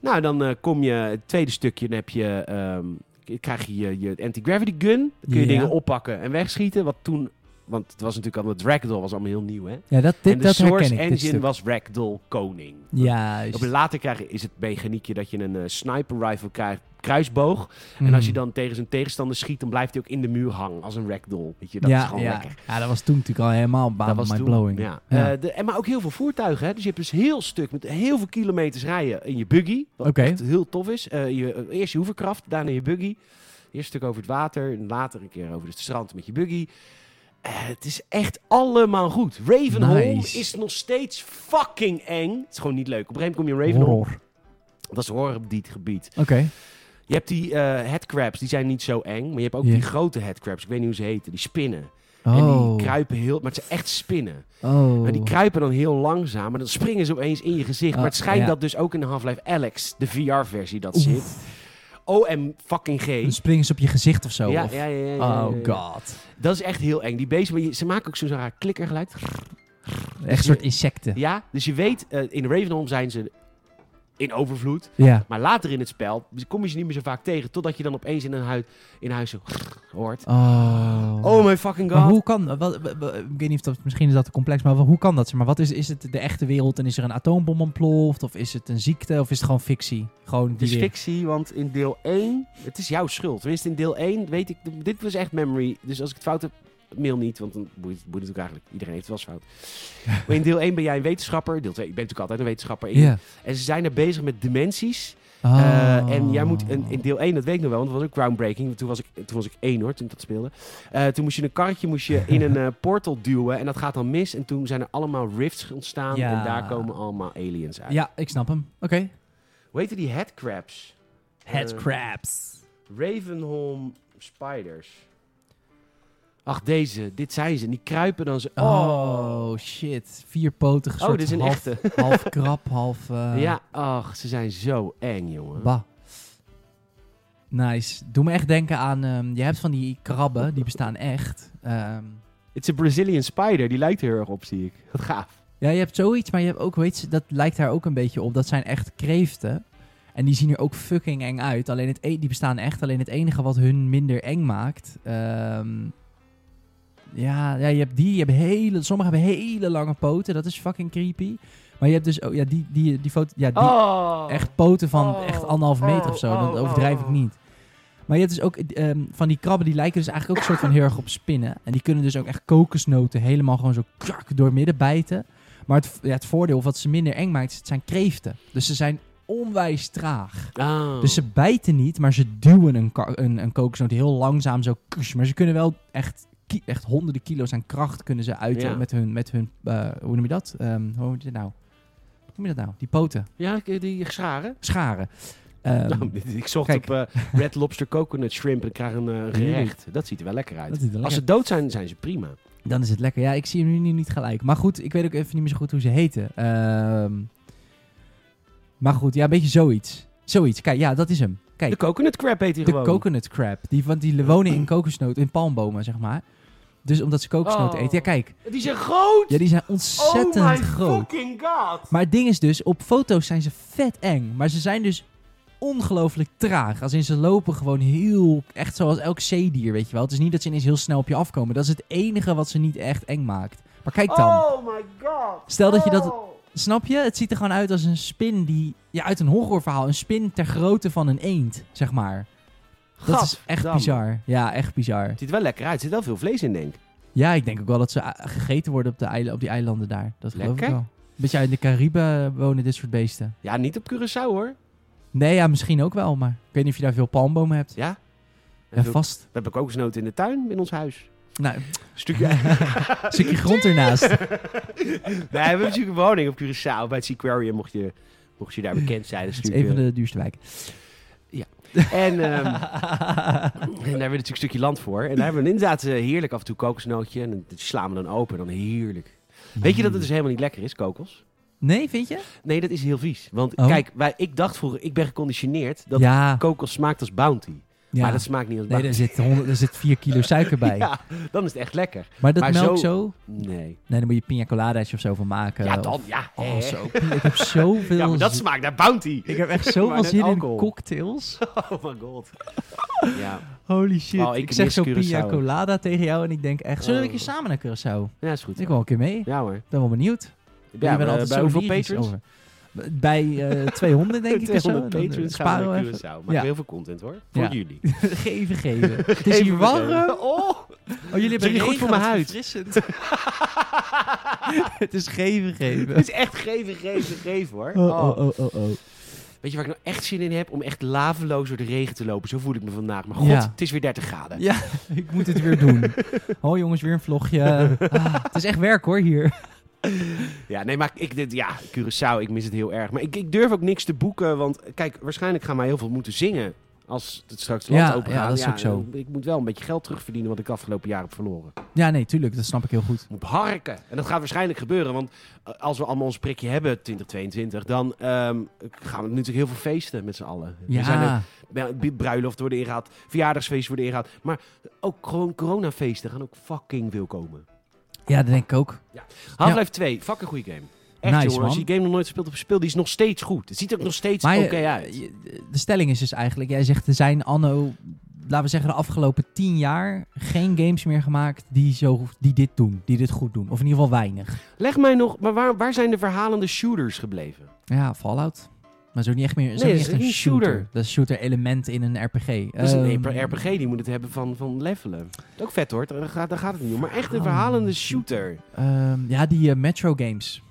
S1: Nou, dan eh, kom je, het tweede stukje, dan heb je, ehm, k- krijg je je, je anti-gravity gun. Dan kun je
S2: Ja.
S1: dingen oppakken en wegschieten. Wat toen Want het was natuurlijk allemaal... Ragdoll was allemaal heel nieuw, hè?
S2: Ja, dat, dit,
S1: en de
S2: dat herken
S1: Source
S2: ik. dit
S1: Engine
S2: stuk.
S1: was Ragdoll Koning.
S2: Juist.
S1: Op een later krijg, is het mechaniekje dat je een eh, sniper rifle krijgt, kruisboog. En als je
S2: Mhm.
S1: dan tegen zijn tegenstander schiet, dan blijft hij ook in de muur hangen als een ragdoll. Weet je, dat
S2: ja,
S1: is gewoon
S2: ja.
S1: lekker.
S2: Ja, dat was toen natuurlijk al helemaal
S1: dat
S2: baan
S1: was toen.
S2: blowing.
S1: Ja.
S2: Ja.
S1: Eh, de, en maar ook heel veel voertuigen. Hè? Dus je hebt dus heel stuk met heel veel kilometers rijden in je buggy. Wat
S2: Oké.
S1: echt heel tof is. Eh, je, eh, eerst je hoeverkracht, daarna je buggy. Eerst een stuk over het water, en later een keer over het strand met je buggy. Eh, het is echt allemaal goed. Ravenholm
S2: Nice.
S1: is nog steeds fucking eng. Het is gewoon niet leuk. Op een gegeven moment kom je in Ravenholm.
S2: Horror.
S1: Dat is horror op dit gebied.
S2: Oké.
S1: Je hebt die eh headcrabs, die zijn niet zo eng. Maar je hebt ook
S2: Ja.
S1: die grote headcrabs. Ik weet niet hoe ze heten. Die spinnen. En
S2: Oh.
S1: die kruipen heel... Maar het zijn echt spinnen.
S2: oh.
S1: Maar die kruipen dan heel langzaam. Maar dan springen ze opeens in je gezicht.
S2: Ah,
S1: maar het schijnt
S2: ja.
S1: dat dus ook in Half-Life Alex, de VR-versie, dat
S2: Oef.
S1: zit. OM fucking G.
S2: Dan springen ze op je gezicht of zo.
S1: ja,
S2: of-
S1: ja, ja, ja, ja, ja,
S2: Oh
S1: ja.
S2: god.
S1: Dat is echt heel eng. Die beesten, maar je- ze maken ook zo'n raar klikkergeluid.
S2: Echt een soort insecten.
S1: Ja, dus je weet, eh, in Ravenholm zijn ze in overvloed.
S2: Ja.
S1: Maar later in het spel kom je ze niet meer zo vaak tegen. Totdat je dan opeens in een huid, in huis zo hoort.
S2: Oh.
S1: Oh my fucking
S2: Maar
S1: god.
S2: hoe kan, wat, w- w- ik weet niet of dat, misschien is dat te complex, maar hoe kan dat? zeg Maar wat is, is het de echte wereld en is er een atoombom ontploft? Of is het een ziekte? Of is het gewoon fictie? Gewoon die
S1: Het is
S2: weer-
S1: fictie, want in deel 1... Het is jouw schuld. Tenminste, in deel 1 weet ik... Dit was echt memory. Dus als ik het fout heb, mail niet. Want dan boeit, boeit het ook eigenlijk. Iedereen heeft wel eens fout. Maar in deel 1 ben jij een wetenschapper. Deel 2, je bent natuurlijk altijd een wetenschapper. In-
S2: Ja.
S1: En ze zijn er bezig met dimensies.
S2: Oh.
S1: Eh, en jij moet een, in deel 1, dat weet ik nog wel, want dat was ook groundbreaking. Toen was ik, toen was ik één hoor, toen ik dat speelde. Eh, toen moest je een karretje moest je in een eh, portal duwen en dat gaat dan mis. En toen zijn er allemaal rifts ontstaan
S2: Ja.
S1: en daar komen allemaal aliens uit.
S2: Ja, ik snap hem. Oké.
S1: Eh. Hoe heette die headcrabs? Eh,
S2: Headcrabs.
S1: Ravenholm spiders. Ach, deze, dit zijn ze. En die kruipen dan zo. Oh,
S2: Oh, shit. Vierpotige
S1: oh
S2: soort
S1: dit is een
S2: half,
S1: echte.
S2: half krap, half... eh,
S1: ja, ach, ze zijn zo eng, jongen.
S2: Bah. Nice. Doe me echt denken aan... ehm, je hebt van die krabben, die bestaan echt. Ehm,
S1: Het is een Brazilian spider, die lijkt er heel erg op, zie ik. Wat gaaf.
S2: ja, je hebt zoiets, maar je hebt ook... Weet je, dat lijkt daar ook een beetje op. Dat zijn echt kreeften. En die zien er ook fucking eng uit. Alleen het e- die bestaan echt. Alleen het enige wat hun minder eng maakt... ehm, ja, ja, je hebt die. Je hebt hele, sommige hebben hele lange poten. Dat is fucking creepy. Maar je hebt dus ook... Ja, die, die, die foto... Ja, die,
S1: Oh.
S2: echt poten van
S1: Oh,
S2: echt anderhalve meter
S1: oh,
S2: of zo.
S1: oh,
S2: dat overdrijf
S1: oh.
S2: ik niet. Maar je hebt dus ook ehm, van die krabben, die lijken dus eigenlijk ook soort van heel erg op spinnen. En die kunnen dus ook echt kokosnoten helemaal gewoon zo krak doormidden bijten. Maar het, ja, het voordeel, wat ze minder eng maakt, is het zijn kreeften. Dus ze zijn onwijs traag.
S1: Oh.
S2: Dus ze bijten niet, maar ze duwen een, ka- een, een kokosnoot heel langzaam zo. kush. Maar ze kunnen wel echt, ki- echt honderden kilo's aan kracht kunnen ze uiten
S1: Ja.
S2: met hun, met hun eh, hoe noem je dat? Ehm, hoe noem je dat nou? Hoe noem je dat nou? Die poten
S1: Ja, ik- eh, die scharen.
S2: scharen. Ehm,
S1: Nou, ik zocht
S2: kijk.
S1: op eh, Red Lobster Coconut Shrimp en ik krijg een eh, gerecht. Dat ziet er wel lekker uit.
S2: dat is
S1: Als
S2: wel lekker.
S1: ze dood zijn, zijn ze prima.
S2: Dan is het lekker. Ja, ik zie hem nu niet- niet gelijk. Maar goed, ik weet ook even niet meer zo goed hoe ze heten. Ehm, maar goed, ja, een beetje zoiets. Zoiets. Kijk, ja, dat is hem. Kijk,
S1: De coconut crab heet hij
S2: de
S1: gewoon.
S2: coconut crab. Die, want die wonen in kokosnoot, in palmbomen, zeg maar. Dus omdat ze kokosnoot
S1: Oh.
S2: eten. Ja, kijk.
S1: Die zijn groot!
S2: Ja, die zijn
S1: oh my
S2: ontzettend groot.
S1: fucking god!
S2: Maar het ding is dus, op foto's zijn ze vet eng. Maar ze zijn dus ongelooflijk traag. Als in ze lopen gewoon heel... Echt zoals elk zeedier, weet je wel. Het is niet dat ze ineens heel snel op je afkomen. Dat is het enige wat ze niet echt eng maakt. Maar kijk dan.
S1: Oh my god!
S2: Stel dat je dat-
S1: Oh.
S2: Snap je? Het ziet er gewoon uit als een spin die... Ja, uit een horrorverhaal. Een spin ter grootte van een eend, zeg maar. Dat is echt
S1: Gadverdamme.
S2: bizar. Ja, echt bizar.
S1: Het ziet er wel lekker uit. Er zit wel veel vlees in, denk ik.
S2: Ja, ik denk ook wel dat ze eh, gegeten worden op, de eile- op die eilanden daar. Dat geloof
S1: Lekker.
S2: ik wel. Beetje uit de Cariben wonen dit soort beesten.
S1: Ja, niet op Curaçao hoor.
S2: Nee, ja, misschien ook wel, maar ik weet niet of je daar veel palmbomen hebt.
S1: Ja?
S2: Ja, vast.
S1: We hebben kokosnoten in de tuin in ons huis.
S2: Nou,
S1: Stukje.
S2: een stukje grond ernaast.
S1: nee, we hebben natuurlijk een woning op Curaçao. Bij het Seaquarium mocht je, mocht je daar bekend zijn. Dat is
S2: Het is een van
S1: natuurlijk,
S2: de duurste wijken.
S1: eh, En ehm,
S2: Ehm,
S1: En daar hebben we natuurlijk een stukje land voor. En daar hebben we inderdaad eh, heerlijk af en toe kokosnootje. En dat slaan we dan open. Dan heerlijk. Weet je dat het dus helemaal niet lekker is, kokos?
S2: Nee, vind je?
S1: Nee, dat is heel vies. Want
S2: Oh.
S1: kijk, wij, ik dacht vroeger, ik ben geconditioneerd dat
S2: ja,
S1: kokos smaakt als bounty.
S2: ja.
S1: Maar dat smaakt niet als
S2: nee,
S1: bounty.
S2: daar zit, 100, daar zit 4 kilo suiker bij.
S1: Ja, dan is het echt lekker.
S2: Maar dat
S1: maar
S2: melk
S1: zo-
S2: zo...
S1: Nee.
S2: Nee, dan moet je pina coladaatje of zo van maken.
S1: ja,
S2: of-
S1: dan, ja. hè.
S2: Oh, zo. Ik heb zoveel...
S1: Ja, maar dat
S2: zin-
S1: smaakt naar bounty.
S2: Ik heb echt
S1: Maar
S2: zoveel
S1: net
S2: zin in
S1: alcohol.
S2: cocktails.
S1: Oh my god. Ja.
S2: Holy shit.
S1: Oh, ik
S2: ik,
S1: mis
S2: zeg zo
S1: Curaçao.
S2: pina colada tegen jou en ik denk echt, zullen we een
S1: Oh.
S2: keer samen naar Curaçao?
S1: Ja, is goed.
S2: Ik wil een keer mee.
S1: Ja hoor.
S2: Ik ben wel benieuwd.
S1: Ja,
S2: je bent
S1: eh,
S2: altijd
S1: bij
S2: zo
S1: hoeveel
S2: lyrisch
S1: patrons?
S2: over. B- Bij eh 200 denk ik of zo.
S1: 200
S2: Dan, eh,
S1: patrons gaan we
S2: sparen
S1: naar
S2: we even.
S1: Curaçao. Maken we
S2: Ja.
S1: heel veel content hoor. Voor
S2: Ja.
S1: jullie.
S2: Geven, geven. Het is
S1: Even
S2: hier
S1: vertellen.
S2: warm.
S1: Oh!
S2: Oh, jullie hebben
S1: Drink goed
S2: regen,
S1: voor mijn
S2: wat
S1: huid.
S2: verfrissend. Het is geven, geven.
S1: Het is echt geven, geven, geven hoor.
S2: Oh, oh,
S1: Oh.
S2: oh, oh, oh.
S1: Weet je waar ik nou echt zin in heb? Om echt laveloos door de regen te lopen. Zo voel ik me vandaag. Maar god,
S2: Ja.
S1: het is weer 30 graden.
S2: Ja, ik moet het weer doen. Oh jongens, weer een vlogje. Ah, het is echt werk hoor hier.
S1: Ja, nee, maar ik, dit, ja, Curaçao, ik mis het heel erg. Maar ik, ik durf ook niks te boeken, want kijk, waarschijnlijk gaan wij heel veel moeten zingen. Als het straks het land
S2: Ja,
S1: open
S2: ja,
S1: gaat.
S2: dat is ook zo.
S1: Ik moet wel een beetje geld terugverdienen wat ik afgelopen jaar heb verloren.
S2: Ja, nee, tuurlijk. Dat snap ik heel goed.
S1: Ik moet harken. En dat gaat waarschijnlijk gebeuren, want eh, als we allemaal ons prikje hebben, 2022, dan ehm, gaan we natuurlijk heel veel feesten met z'n allen.
S2: Ja,
S1: Er zijn er- bru- bruiloft worden ingehaald, verjaardagsfeesten worden ingehaald. Maar ook gewoon coronafeesten gaan ook fucking veel komen.
S2: ja dat denk ik ook.
S1: Half-Life 2, fucking goede game. Echt
S2: Nice,
S1: jongen, als je
S2: man.
S1: die game nog nooit gespeeld hebt gespeeld, die is nog steeds goed. Het ziet er ook nog steeds
S2: Maar
S1: oké
S2: je-
S1: uit.
S2: Eh, je- de stelling is dus eigenlijk, jij zegt er zijn anno, laten we zeggen de afgelopen tien jaar, geen games meer gemaakt die, zo, die dit doen, die dit goed doen. Of in ieder geval weinig.
S1: Leg mij nog, maar waar, waar zijn de verhalende shooters gebleven?
S2: Ja, Fallout. Maar zo niet echt meer. Zo
S1: Nee,
S2: niet
S1: het is
S2: echt een
S1: geen
S2: shooter.
S1: shooter.
S2: Dat is shooter element in een RPG.
S1: Dat is Dus een
S2: Ehm,
S1: RPG, die moet het hebben van, van levelen. Ook vet hoor, daar gaat, daar gaat het niet om. Maar echt een
S2: Verhalende
S1: verhalende shooter.
S2: ehm, ja, die eh, Metro games.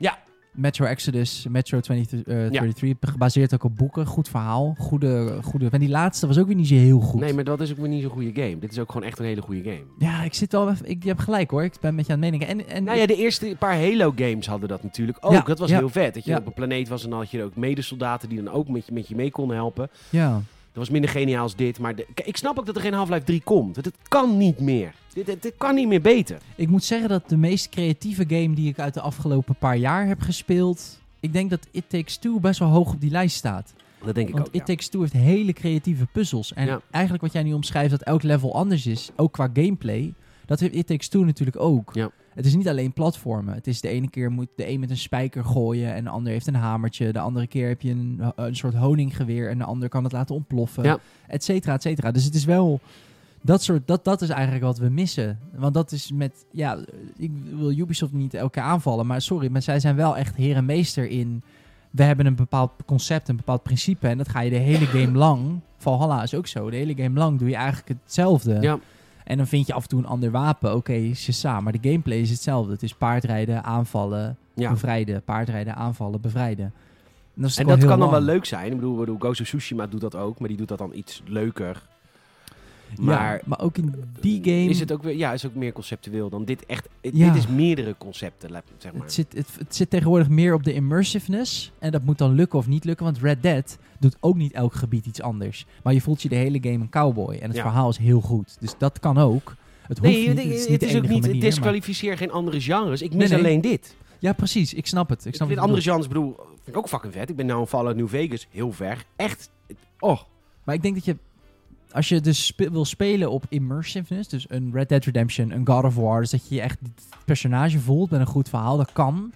S1: Ja.
S2: Metro Exodus, Metro 20, eh, 33, gebaseerd ook op boeken. Goed verhaal, goede... goede en die laatste was ook weer niet zo heel goed.
S1: Nee, maar dat is ook weer niet zo'n goede game. Dit is ook gewoon echt een hele goede game.
S2: Ja, ik zit wel... even- Ik, je hebt gelijk hoor, ik ben met je aan het meningen. En, en
S1: Nou ja, de eerste paar Halo-games hadden dat natuurlijk ook.
S2: Ja,
S1: dat was
S2: ja,
S1: heel vet. Dat je
S2: ja.
S1: op een planeet was en dan had je ook medesoldaten die dan ook met je, met je mee konden helpen.
S2: ja.
S1: Dat was minder geniaal als dit. Maar de- Kijk, ik snap ook dat er geen Half-Life 3 komt. Dat het kan niet meer. Dit, dit, dit kan niet meer beter.
S2: Ik moet zeggen dat de meest creatieve game die ik uit de afgelopen paar jaar heb gespeeld. Ik denk dat It Takes Two best wel hoog op die lijst staat.
S1: Dat denk ik
S2: Want
S1: ook.
S2: It
S1: ja.
S2: Takes Two heeft hele creatieve puzzels. En
S1: Ja.
S2: eigenlijk wat jij nu omschrijft, dat elk level anders is, ook qua gameplay. Dat heeft It Takes Two natuurlijk ook.
S1: Ja.
S2: Het is niet alleen platformen. Het is de ene keer moet de een met een spijker gooien en de ander heeft een hamertje. De andere keer heb je een, een soort honinggeweer en de ander kan het laten ontploffen.
S1: Ja.
S2: Et cetera, et cetera. Dus het is wel dat soort, dat, dat is eigenlijk wat we missen. Want dat is met, ja, ik wil Ubisoft niet elke keer aanvallen, maar sorry, maar zij zijn wel echt heer en meester in. We hebben een bepaald concept, een bepaald principe en dat ga je de hele game lang. Valhalla is ook zo. De hele game lang doe je eigenlijk hetzelfde.
S1: Ja.
S2: En dan vind je af en toe een ander wapen. Oké, is je samen. Maar de gameplay is hetzelfde. Het is paardrijden, aanvallen,
S1: Ja.
S2: bevrijden. Paardrijden, aanvallen, bevrijden. En dat, is
S1: En
S2: gewoon
S1: dat kan
S2: heel
S1: dan
S2: lang.
S1: wel leuk zijn. Ik bedoel, ik bedoel, Ghost of Tsushima doet dat ook. Maar die doet dat dan iets leuker. Maar
S2: ja, maar ook in die game...
S1: is het ook weer, ja, is ook meer conceptueel dan dit echt. Dit
S2: Ja.
S1: dit is meerdere concepten, laat- zeg maar.
S2: Het zit, het, het zit tegenwoordig meer op de immersiveness. En dat moet dan lukken of niet lukken. Want Red Dead doet ook niet elk gebied iets anders. Maar je voelt je de hele game een cowboy. En het
S1: Ja.
S2: verhaal is heel goed. Dus dat kan ook. Het hoeft niet.
S1: het,
S2: Het is niet
S1: het
S2: de
S1: is ook
S2: enige
S1: niet.
S2: manier. maar-
S1: disqualificeer geen andere genres. Ik mis
S2: nee.
S1: alleen dit.
S2: Ja, precies. Ik snap het. Ik
S1: Ik
S2: snap
S1: vind
S2: het
S1: andere genres, bedoel, vind ik ook fucking vet. Ik ben nou een Fallout New Vegas, heel ver. Echt, oh.
S2: Maar ik denk dat je, als je dus spe- wil spelen op immersiveness, dus een Red Dead Redemption, een God of War, dus dat je je echt het personage voelt met een goed verhaal, dat kan.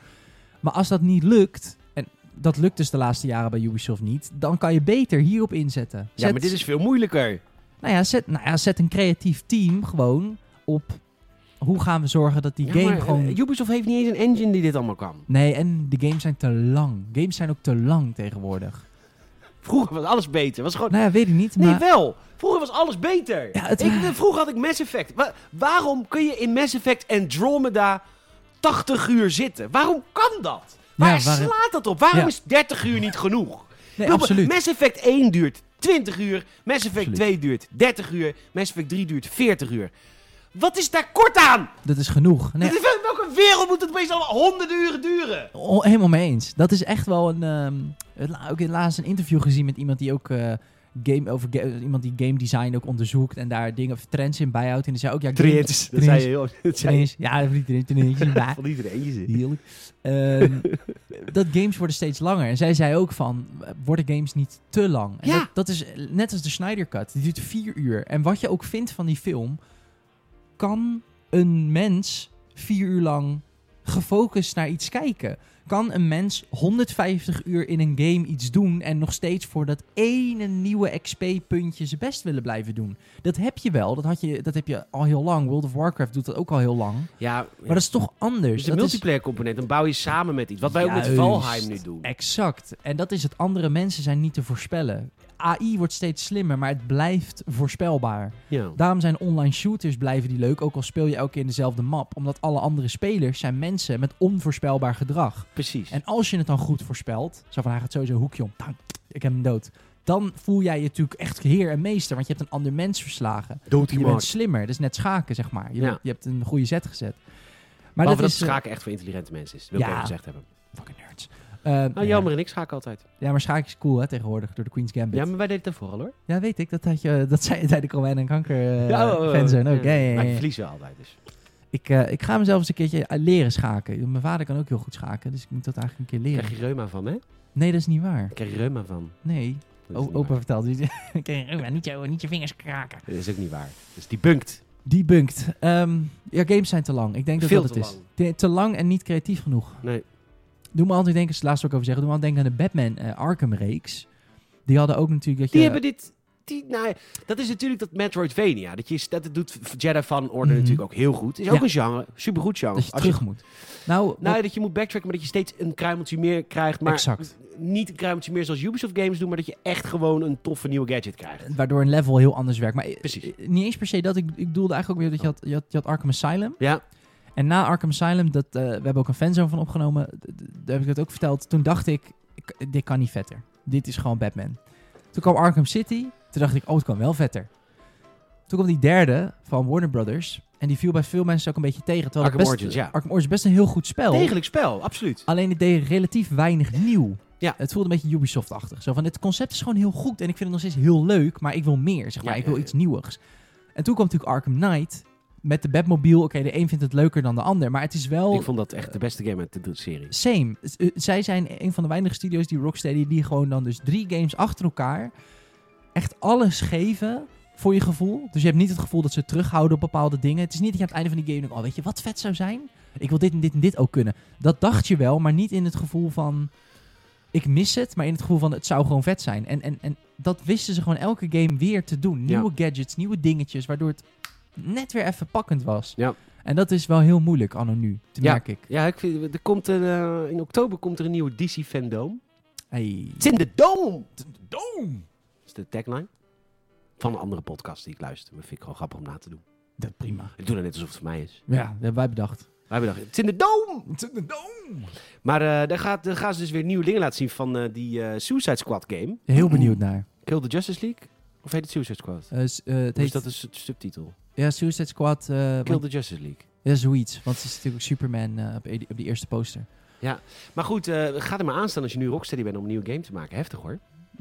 S2: Maar als dat niet lukt, en dat lukt dus de laatste jaren bij Ubisoft niet, dan kan je beter hierop inzetten.
S1: Ja, maar dit is veel moeilijker.
S2: nou, ja, zet, nou ja, zet een creatief team gewoon op hoe gaan we zorgen dat die
S1: Ja,
S2: game
S1: maar,
S2: gewoon...
S1: eh, Ubisoft heeft niet eens een engine die dit allemaal kan.
S2: Nee, en de games zijn te lang. Games zijn ook te lang tegenwoordig.
S1: Vroeger was alles beter. Was gewoon...
S2: Nou ja, weet ik niet,
S1: Nee,
S2: maar...
S1: wel. Vroeger was alles beter.
S2: Ja, het-
S1: ik, vroeger had ik Mass Effect. Wa- waarom kun je in Mass Effect Andromeda 80 uur zitten? Waarom kan dat?
S2: Ja,
S1: Waar
S2: waarom-
S1: slaat dat op? Waarom
S2: Ja.
S1: is 30 uur niet genoeg?
S2: Nee,
S1: Ik bedoel,
S2: absoluut.
S1: Mass Effect 1 duurt 20 uur. Mass Effect
S2: Absoluut.
S1: 2 duurt 30 uur. Mass Effect 3 duurt 40 uur. Wat is daar kort aan?
S2: Dat is genoeg. Nee,
S1: Dit is- welke wereld moet het opeens al honderden uren duren?
S2: Oh, helemaal mee eens. Dat is echt wel een. ehm, het la- ook in laatst een interview gezien met iemand die ook. eh, Game over ga- eh, iemand die game design ook onderzoekt en daar dingen of trends in bijhoudt. En die zei ook: Ja, game-
S1: Dat zei je heel... Dat zei je
S2: trends. Ja, of niet trends, trends, maar-
S1: van iedereen. je zit.
S2: Heerlijk. Ehm, dat games worden steeds langer. En zij zei ook van, worden games niet te lang? En
S1: Ja.
S2: dat, dat is net als de Snyder Cut. Die duurt vier uur. En wat je ook vindt van die film, kan een mens vier uur lang gefocust naar iets kijken. Kan een mens 150 uur in een game iets doen en nog steeds voor dat ene nieuwe XP-puntje zijn best willen blijven doen? Dat heb je wel, dat, had je, dat heb je al heel lang. World of Warcraft doet dat ook al heel lang.
S1: Ja, ja.
S2: Maar dat is toch anders?
S1: Dus de
S2: dat is-
S1: multiplayer component, dan bouw je samen met iets. Wat wij ook met
S2: Juist.
S1: Valheim nu doen.
S2: Exact. En dat is het. Andere mensen zijn niet te voorspellen. AI wordt steeds slimmer, maar het blijft voorspelbaar.
S1: Ja.
S2: Daarom zijn online shooters blijven die leuk, ook al speel je elke keer in dezelfde map. Omdat alle andere spelers zijn mensen met onvoorspelbaar gedrag.
S1: Precies.
S2: En als je het dan goed voorspelt, zo van hij gaat sowieso een hoekje om, Tang, ik heb hem dood. Dan voel jij je natuurlijk echt heer en meester, want je hebt een ander mens verslagen.
S1: Dood
S2: Je bent slimmer, dat is net schaken, zeg maar. Je,
S1: Ja.
S2: je hebt een goede zet gezet. Maar
S1: Maar
S2: dat,
S1: dat,
S2: is... eh,
S1: schaken echt voor intelligente mensen is. Dat wil ik
S2: Ja.
S1: even gezegd hebben.
S2: fucking nerds. Eh,
S1: Nou, jammer en ik schaken altijd.
S2: Ja, maar schaak is cool hè, tegenwoordig door de Queen's Gambit.
S1: Ja,
S2: Ja,
S1: maar wij deden het daarvoor al hoor.
S2: weet ik. Dat, had je, eh, dat zei je tijdens Romein en Kanker eh
S1: Ja, oh, oh,
S2: fanzone
S1: oh.
S2: ook. Ja, ja, ja,
S1: Maar ik
S2: ja.
S1: verlies wel altijd dus.
S2: Ik, eh, ik ga mezelf eens een keertje eh, leren schaken. Mijn vader kan ook heel goed schaken, dus ik moet dat eigenlijk een keer
S1: Daar
S2: leren.
S1: krijg je reuma van hè? Daar
S2: Nee, dat is niet waar.
S1: krijg je reuma van.
S2: Nee,
S1: Dat is
S2: o-
S1: niet
S2: opa
S1: waar.
S2: vertelt. Ik kreeg, "Oh, maar niet, je, niet je vingers kraken.
S1: Dat is ook niet waar. Dus die bunkt.
S2: Debunked. Ehm ja, games zijn te lang. Ik denk dat
S1: Veel
S2: dat het
S1: te
S2: is.
S1: lang.
S2: Te, te lang en niet creatief genoeg.
S1: Nee.
S2: Doe me altijd denken, is het laatste wat ik over zeggen. Doe me altijd denken aan de Batman eh, Arkham reeks. Die hadden ook natuurlijk dat je...
S1: Die hebben dit... Die, nou, ja, dat is natuurlijk dat Metroidvania. Dat, je, dat doet Jedi Fallen Order
S2: Mhm.
S1: natuurlijk ook heel goed. Is ook
S2: Ja.
S1: een genre. Supergoed genre.
S2: dat je
S1: Als
S2: terug moet. Nou,
S1: Nou, ja, dat je moet backtracken, maar dat je steeds een kruimeltje meer krijgt. Maar
S2: Exact.
S1: niet een kruimeltje meer zoals Ubisoft games doen, maar dat je echt gewoon een toffe nieuwe gadget krijgt.
S2: waardoor een level heel anders werkt. Maar eh,
S1: Precies. Oh.
S2: eh, niet eens per se dat. Ik, ik doelde eigenlijk ook weer dat je had, je, had, je had Arkham Asylum.
S1: Ja,
S2: En na Arkham Asylum, dat, eh, we hebben ook een fanzone van opgenomen. d- d- Daar heb ik dat ook verteld. Toen dacht ik, ik- dit kan niet vetter. Dit is gewoon Batman. Toen kwam Arkham City. Toen dacht ik, oh, het kan wel vetter. Toen kwam die derde van Warner Brothers. En die viel bij veel mensen ook een beetje tegen. Terwijl het
S1: Arkham
S2: best,
S1: Origins, ja.
S2: Arkham Origins is best een heel goed spel.
S1: degelijk spel, absoluut.
S2: Alleen het deed relatief weinig nieuw.
S1: Ja.
S2: Het voelde een beetje Ubisoft-achtig. Zo van, het concept is gewoon heel goed en ik vind het nog steeds heel leuk, maar ik wil meer, zeg maar.
S1: Ja,
S2: ik wil
S1: ja, ja.
S2: iets nieuwigs. En toen kwam natuurlijk Arkham Knight met de Batmobile. Oké, de een vindt het leuker dan de ander, maar het is wel
S1: Ik vond dat echt de beste game uit de de serie.
S2: same. Z- eh, Zij zijn een van de weinige studio's, die Rocksteady, die gewoon dan dus drie games achter elkaar echt alles geven voor je gevoel. Dus je hebt niet het gevoel dat ze terughouden op bepaalde dingen. Het is niet dat je aan het einde van die game denkt, oh weet je wat vet zou zijn? Ik wil dit en dit en dit ook kunnen. Dat dacht je wel, maar niet in het gevoel van ik mis het, maar in het gevoel van het zou gewoon vet zijn. En, en, en dat wisten ze gewoon elke game weer te doen. Nieuwe gadgets, nieuwe dingetjes, waardoor het net weer even pakkend was.
S1: Ja.
S2: En dat is wel heel moeilijk, anno nu, te merk ik.
S1: Ja, ik vind, er komt een, eh, in oktober komt er een nieuwe DC Fandom.
S2: Hey.
S1: It's in the Dome!
S2: Doom!
S1: Dat is de tagline. Van een andere podcast die ik luister. Maar vind ik gewoon grappig om na te doen.
S2: Dat prima.
S1: Ik doe dat net alsof het voor mij is.
S2: Ja, dat hebben wij bedacht.
S1: Wij hebben dacht, it's in the Dome! Maar eh, daar, gaat, daar gaan ze dus weer nieuwe dingen laten zien van eh, die eh, Suicide Squad game.
S2: Heel benieuwd naar.
S1: Kill the Justice League? Of heet het Suicide Squad?
S2: Eh, s- eh, het
S1: Hoe is
S2: heet,
S1: dat een su- subtitel?
S2: ja, Suicide Squad. eh,
S1: Kill
S2: want-
S1: the Justice League.
S2: ja, zoiets. Want het is natuurlijk Superman eh, op, e- op die eerste poster.
S1: Maar goed, eh, ga er maar aan staan als je nu Rocksteady bent om een nieuwe game te maken. Heftig hoor.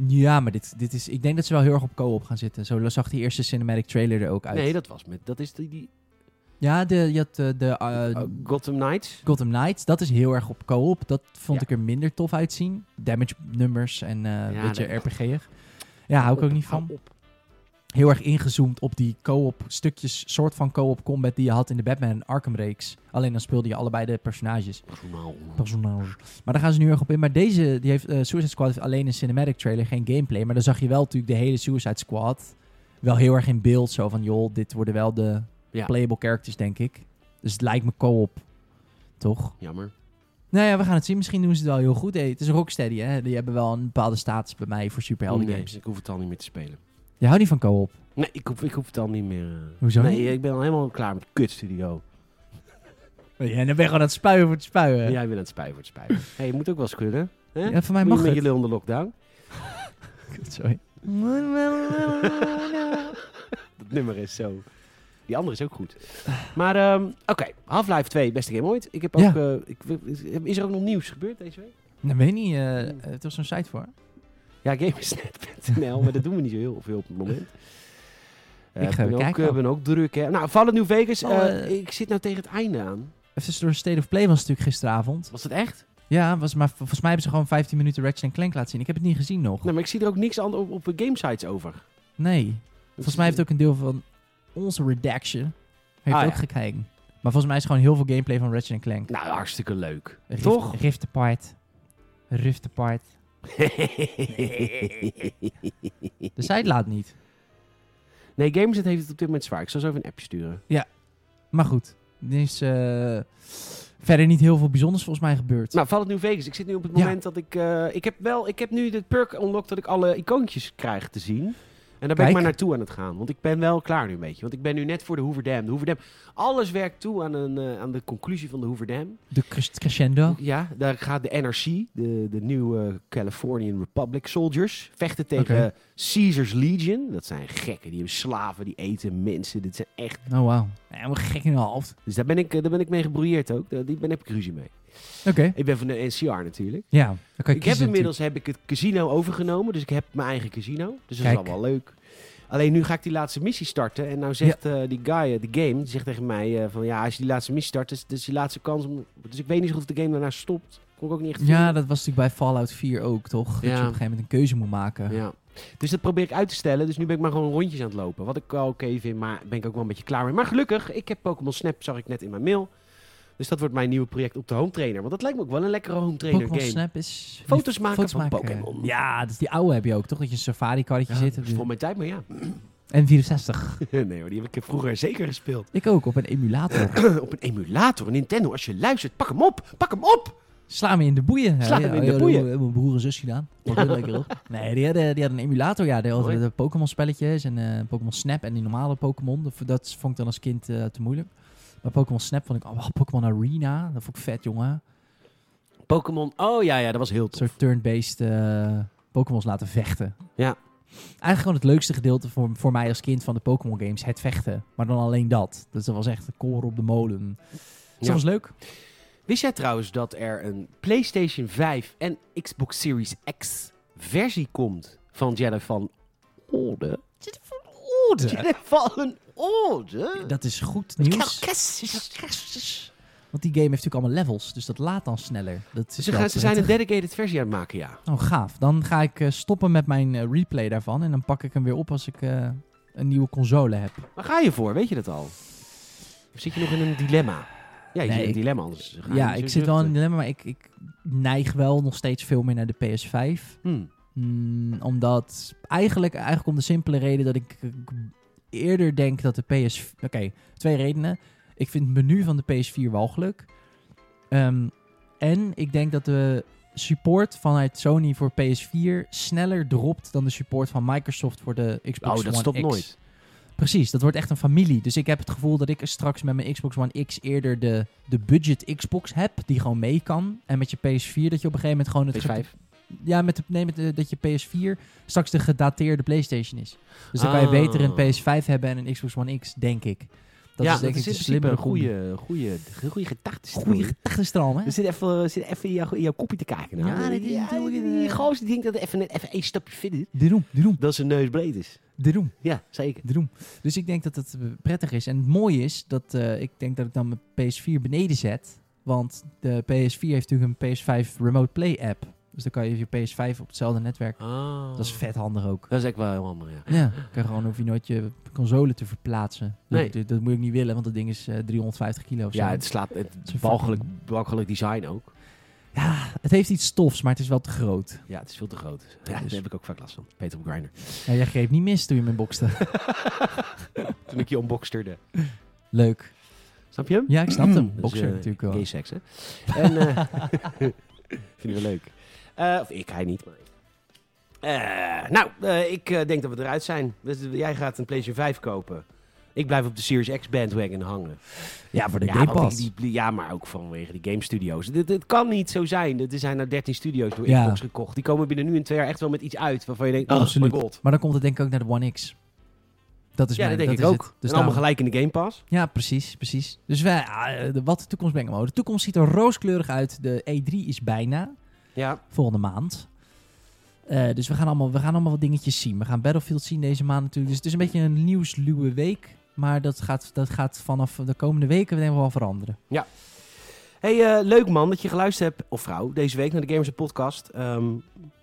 S2: Ja, maar dit, dit is, ik denk dat ze wel heel erg op co-op gaan zitten. Zo zag die eerste cinematic trailer er ook uit.
S1: Nee, dat was met... Dat is die... die
S2: Ja, de, je had eh, de eh,
S1: eh, Gotham Knights.
S2: Gotham Knights. Dat is heel erg op co-op. Dat vond
S1: Ja.
S2: ik er minder tof uitzien. Damage nummers en eh een
S1: Ja,
S2: beetje
S1: dat-
S2: RPG'er. Ja, hou ik ook
S1: Op,
S2: niet
S1: hou
S2: van.
S1: op.
S2: heel erg ingezoomd op die co-op stukjes, soort van co-op combat die je had in de Batman Arkham reeks. Alleen dan speelde je allebei de personages.
S1: Normaal.
S2: Personages. Maar daar gaan ze nu erg op in. Maar deze, die heeft, eh, Suicide Squad heeft alleen een cinematic trailer, geen gameplay. Maar dan zag je wel natuurlijk de hele Suicide Squad wel heel erg in beeld. Zo van, joh, dit worden wel de
S1: Ja.
S2: playable characters, denk ik. Dus het lijkt me co-op, toch?
S1: Jammer.
S2: Nou ja, we gaan het zien. Misschien doen ze het wel heel goed. Hey, het is Rocksteady, hè? Die hebben wel een bepaalde status bij mij voor superhelden
S1: Nee,
S2: games.
S1: ik hoef het al niet meer te spelen.
S2: Je houdt niet van co-op.
S1: Nee, ik hoef, ik hoef het al niet meer... eh.
S2: Hoezo
S1: Nee,
S2: niet?
S1: ik ben al helemaal klaar met kutstudio.
S2: Ja, en dan ben je gewoon aan het spuien voor het
S1: Jij
S2: spuien.
S1: bent aan het spuien voor het spuien. Hé, hey, je moet ook wel eens kunnen. Hè?
S2: Ja, voor mij
S1: Moet je
S2: mag
S1: met
S2: het.
S1: jullie onder lockdown.
S2: Sorry.
S1: Dat nummer is zo. Die andere is ook goed. Maar ehm, oké, Half-Life 2, beste game ooit. Ik heb ook,
S2: Ja.
S1: eh, ik, is- is er ook nog nieuws gebeurd deze week?
S2: Dat weet ik niet. eh, eh, het was zo'n site voor.
S1: Ja, gamesnet.nl, maar dat doen we niet zo heel veel op het moment. Eh,
S2: Ik ga
S1: ben
S2: even
S1: ook,
S2: kijken.
S1: eh, ben ook druk, hè. Nou, Fallen New Vegas,
S2: Oh,
S1: eh,
S2: eh.
S1: ik zit nou tegen het einde aan.
S2: Even door State of Play was het natuurlijk gisteravond.
S1: Was dat echt?
S2: Ja, was, maar v- volgens mij hebben ze gewoon 15 minuten Ratchet Clank laten zien. Ik heb het niet gezien nog.
S1: Nee, maar ik zie er ook niks aan op, op eh, gamesites over.
S2: Nee. Volgens mij heeft ook een deel van onze redaction heeft
S1: Ah,
S2: ook
S1: ja.
S2: gekeken. Maar volgens mij is gewoon heel veel gameplay van Ratchet Clank.
S1: Nou, hartstikke leuk.
S2: Rift,
S1: Toch?
S2: Rift Apart. Rift Apart. De site laat niet.
S1: nee, Gameset heeft het op dit moment zwaar. Ik zal zo even een appje sturen.
S2: Maar goed. Er is eh, verder niet heel veel bijzonders volgens mij gebeurd.
S1: Nou, Fallout New Vegas. Ik zit nu op het
S2: Ja.
S1: moment dat ik... eh, ik heb wel... Ik heb nu de perk unlocked dat ik alle icoontjes krijg te zien. En daar ben
S2: Kijk.
S1: ik maar naartoe aan het gaan. Want ik ben wel klaar nu een beetje. Want ik ben nu net voor de Hoover Dam. De Hoover Dam... Alles werkt toe aan, een, eh, aan de conclusie van de Hoover Dam.
S2: De cres- crescendo.
S1: Ja, daar gaat de NRC, de, de nieuwe Californian Republic Soldiers, vechten tegen
S2: Oké.
S1: eh, Caesar's Legion. Dat zijn gekken, die hebben slaven, die eten mensen. Dit zijn echt...
S2: Oh, wauw. Helemaal gek in de hoofd.
S1: Dus daar ben ik, eh, daar ben ik mee gebrouilleerd ook. Daar die ben, heb ik ruzie mee.
S2: Oké.
S1: Ik ben van de NCR natuurlijk.
S2: Ja. Dan kan je
S1: Ik heb
S2: kiezen
S1: inmiddels heb ik het casino overgenomen, dus ik heb mijn eigen casino. Dus dat
S2: Kijk.
S1: is allemaal leuk. Alleen nu ga ik die laatste missie starten. En nou zegt eh, die guy, eh, de game, die zegt tegen mij eh, van... Ja, als je die laatste missie start, is is je laatste kans om... Dus ik weet niet zo goed of de game daarna stopt. Kon ik ook niet echt
S2: natuurlijk. Ja, dat was natuurlijk bij Fallout 4 ook, toch? Dat je op
S1: Ja.
S2: een gegeven moment een keuze moet maken.
S1: Ja. Dus dat probeer ik uit te stellen. Dus nu ben ik maar gewoon rondjes aan het lopen. Wat ik wel oké vind, maar ben ik ook wel een beetje klaar mee. Maar gelukkig, ik heb Pokémon Snap, zag ik net in mijn mail. Dus dat wordt mijn nieuwe project op de home trainer. Want dat lijkt me ook wel een lekkere home trainer
S2: Pokémon
S1: game.
S2: Snap is...
S1: Foto's maken
S2: foto's
S1: van
S2: maken.
S1: Pokémon.
S2: Ja, dus die oude heb je ook, toch? Dat je een safari-karretje zit.
S1: dat is voor mijn tijd, maar ja.
S2: En 64.
S1: nee hoor, die heb ik vroeger zeker gespeeld.
S2: Ik ook, op een emulator.
S1: op een emulator, een Nintendo. Als je luistert, pak hem op, pak hem op.
S2: Sla me in de boeien.
S1: Sla
S2: Ja,
S1: hem in de
S2: ja, ja,
S1: boeien.
S2: dat hebben Mijn broer en zus gedaan. Vond ik heel lekker, hoor. Nee, die hadden, die hadden een emulator. Ja, die hadden
S1: Mooi.
S2: de Pokémon spelletjes en eh, Pokémon Snap en die normale Pokémon. Dat, dat vond ik dan als kind eh, te moeilijk. Maar Pokémon Snap vond ik... Oh, Pokémon Arena. Dat vond ik vet, jongen.
S1: Pokémon, oh ja, ja, dat was heel
S2: Een
S1: tof.
S2: soort turn-based eh, Pokémon's laten vechten.
S1: Ja.
S2: Eigenlijk gewoon het leukste gedeelte voor, voor mij als kind van de Pokémon games. Het vechten. Maar dan alleen dat. Dus dat was echt de koren op de molen. Dus
S1: Ja.
S2: dat was leuk.
S1: Wist jij trouwens dat er een PlayStation 5 en Xbox Series X versie komt van Jedi van Orde? Jedi van Orde?
S2: Dat is goed nieuws.
S1: Ze,
S2: Want die game heeft natuurlijk allemaal levels. Dus dat laat dan sneller. Dat is wel
S1: gaan, ze zijn een
S2: prettig.
S1: dedicated versie aan het maken, ja.
S2: Oh, gaaf. Dan ga ik eh, stoppen met mijn eh, replay daarvan. En dan pak ik hem weer op als ik eh, een nieuwe console heb.
S1: Waar ga je voor? Weet je dat al? Of zit je nog in een dilemma? Ja, je zit
S2: Nee,
S1: in een
S2: ik-
S1: dilemma anders. ga je
S2: ja,
S1: niet zo
S2: ik zit wel in
S1: zuchten.
S2: een dilemma. Maar ik, ik neig wel nog steeds veel meer naar de PS5.
S1: Hmm.
S2: Mm, omdat eigenlijk, eigenlijk om de simpele reden dat ik eh, eerder denk dat de PS... Oké, twee redenen. Ik vind het menu van de PS4 walgelijk. Ehm, en ik denk dat de support vanuit Sony voor PS4 sneller dropt dan de support van Microsoft voor de Xbox
S1: Oh, dat
S2: One
S1: stopt
S2: X.
S1: nooit.
S2: Precies, dat wordt echt een familie. Dus ik heb het gevoel dat ik straks met mijn Xbox One X eerder de, de budget Xbox heb, die gewoon mee kan. En met je PS4 dat je op een gegeven moment gewoon het
S1: PS5.
S2: ja, met de, nee, met de- dat je PS4 straks de gedateerde PlayStation is. Dus dan kan je
S1: Ah.
S2: beter een PS5 hebben en een Xbox One X, denk ik. Dat
S1: ja,
S2: is denk
S1: dat
S2: ik de
S1: is in principe
S2: slimmere
S1: een goede, goede, goede gedachte.
S2: goede gedachtenstroom, hè?
S1: Er zit even, zit even in, jouw, in jouw kopje te kijken. nou.
S2: Ja, dat is natuurlijk
S1: die,
S2: een,
S1: die
S2: eh,
S1: gozer die denkt dat hij even, net even één stapje verder is.
S2: De roem, de roem,
S1: Dat zijn neus breed is.
S2: de roem,
S1: Ja, zeker.
S2: de roem. Dus ik denk dat het eh, prettig is. En het mooie is dat eh, ik denk dat ik dan mijn PS4 beneden zet. Want de PS4 heeft natuurlijk een PS5 Remote Play app. Dus dan kan je je PS5 op hetzelfde netwerk.
S1: Ah.
S2: Dat is vet handig ook.
S1: Dat is echt wel heel handig, ja.
S2: Ja, kan gewoon hoef je nooit je console te verplaatsen.
S1: Nee.
S2: Dat, dat moet ik niet willen, want dat ding is eh, 350 kilo of zo.
S1: Ja, het slaat het
S2: fucking-
S1: walgelijk, walgelijk design ook.
S2: Ja, het heeft iets stofs, maar het is wel te groot.
S1: Ja, het is veel te groot. Ja,
S2: dus-
S1: Daar heb ik ook vaak last van. Peter op Grindr.
S2: Ja, jij greep niet mis toen je mijn boxte.
S1: Toen ik je unboxterde.
S2: Leuk.
S1: Snap je hem?
S2: Ja, ik snapte hem.
S1: Dat is,
S2: Boxer
S1: eh,
S2: natuurlijk wel.
S1: Gay seks, hè? En, eh, vind ik wel leuk. Eh, of ik, hij niet, maar... Eh, nou, eh, ik eh, denk dat we eruit zijn. Dus, eh, jij gaat een PlayStation 5 kopen. Ik blijf op de Series X bandwagon hangen.
S2: Ja, voor de
S1: ja,
S2: Game
S1: want
S2: Pass.
S1: die- die- ja, maar ook vanwege die game studios. Dit, dit kan niet zo zijn. Er zijn nou 13 studios door
S2: Ja.
S1: Xbox gekocht. Die komen binnen nu en twee jaar echt wel met iets uit waarvan je denkt, oh,
S2: Absoluut.
S1: my god.
S2: Maar dan komt het denk ik ook naar de One X. Dat is
S1: ja,
S2: mijn,
S1: dat denk ik
S2: is
S1: ook. en
S2: het. Dus
S1: allemaal
S2: daarom-
S1: gelijk in de Game Pass.
S2: Ja, precies, precies. Dus wij, ah, eh, de- wat de toekomst brengen mogen. De toekomst ziet er rooskleurig uit. De E3 is bijna.
S1: Ja.
S2: volgende maand. Eh, dus we gaan, allemaal, we gaan allemaal wat dingetjes zien. We gaan Battlefield zien deze maand natuurlijk. Dus het is een beetje een nieuwsluwe week. Maar dat gaat, dat gaat vanaf de komende weken denk ik wel veranderen.
S1: Hey, eh, leuk man dat je geluisterd hebt, of vrouw, deze week naar de Gamers Podcast. Ehm,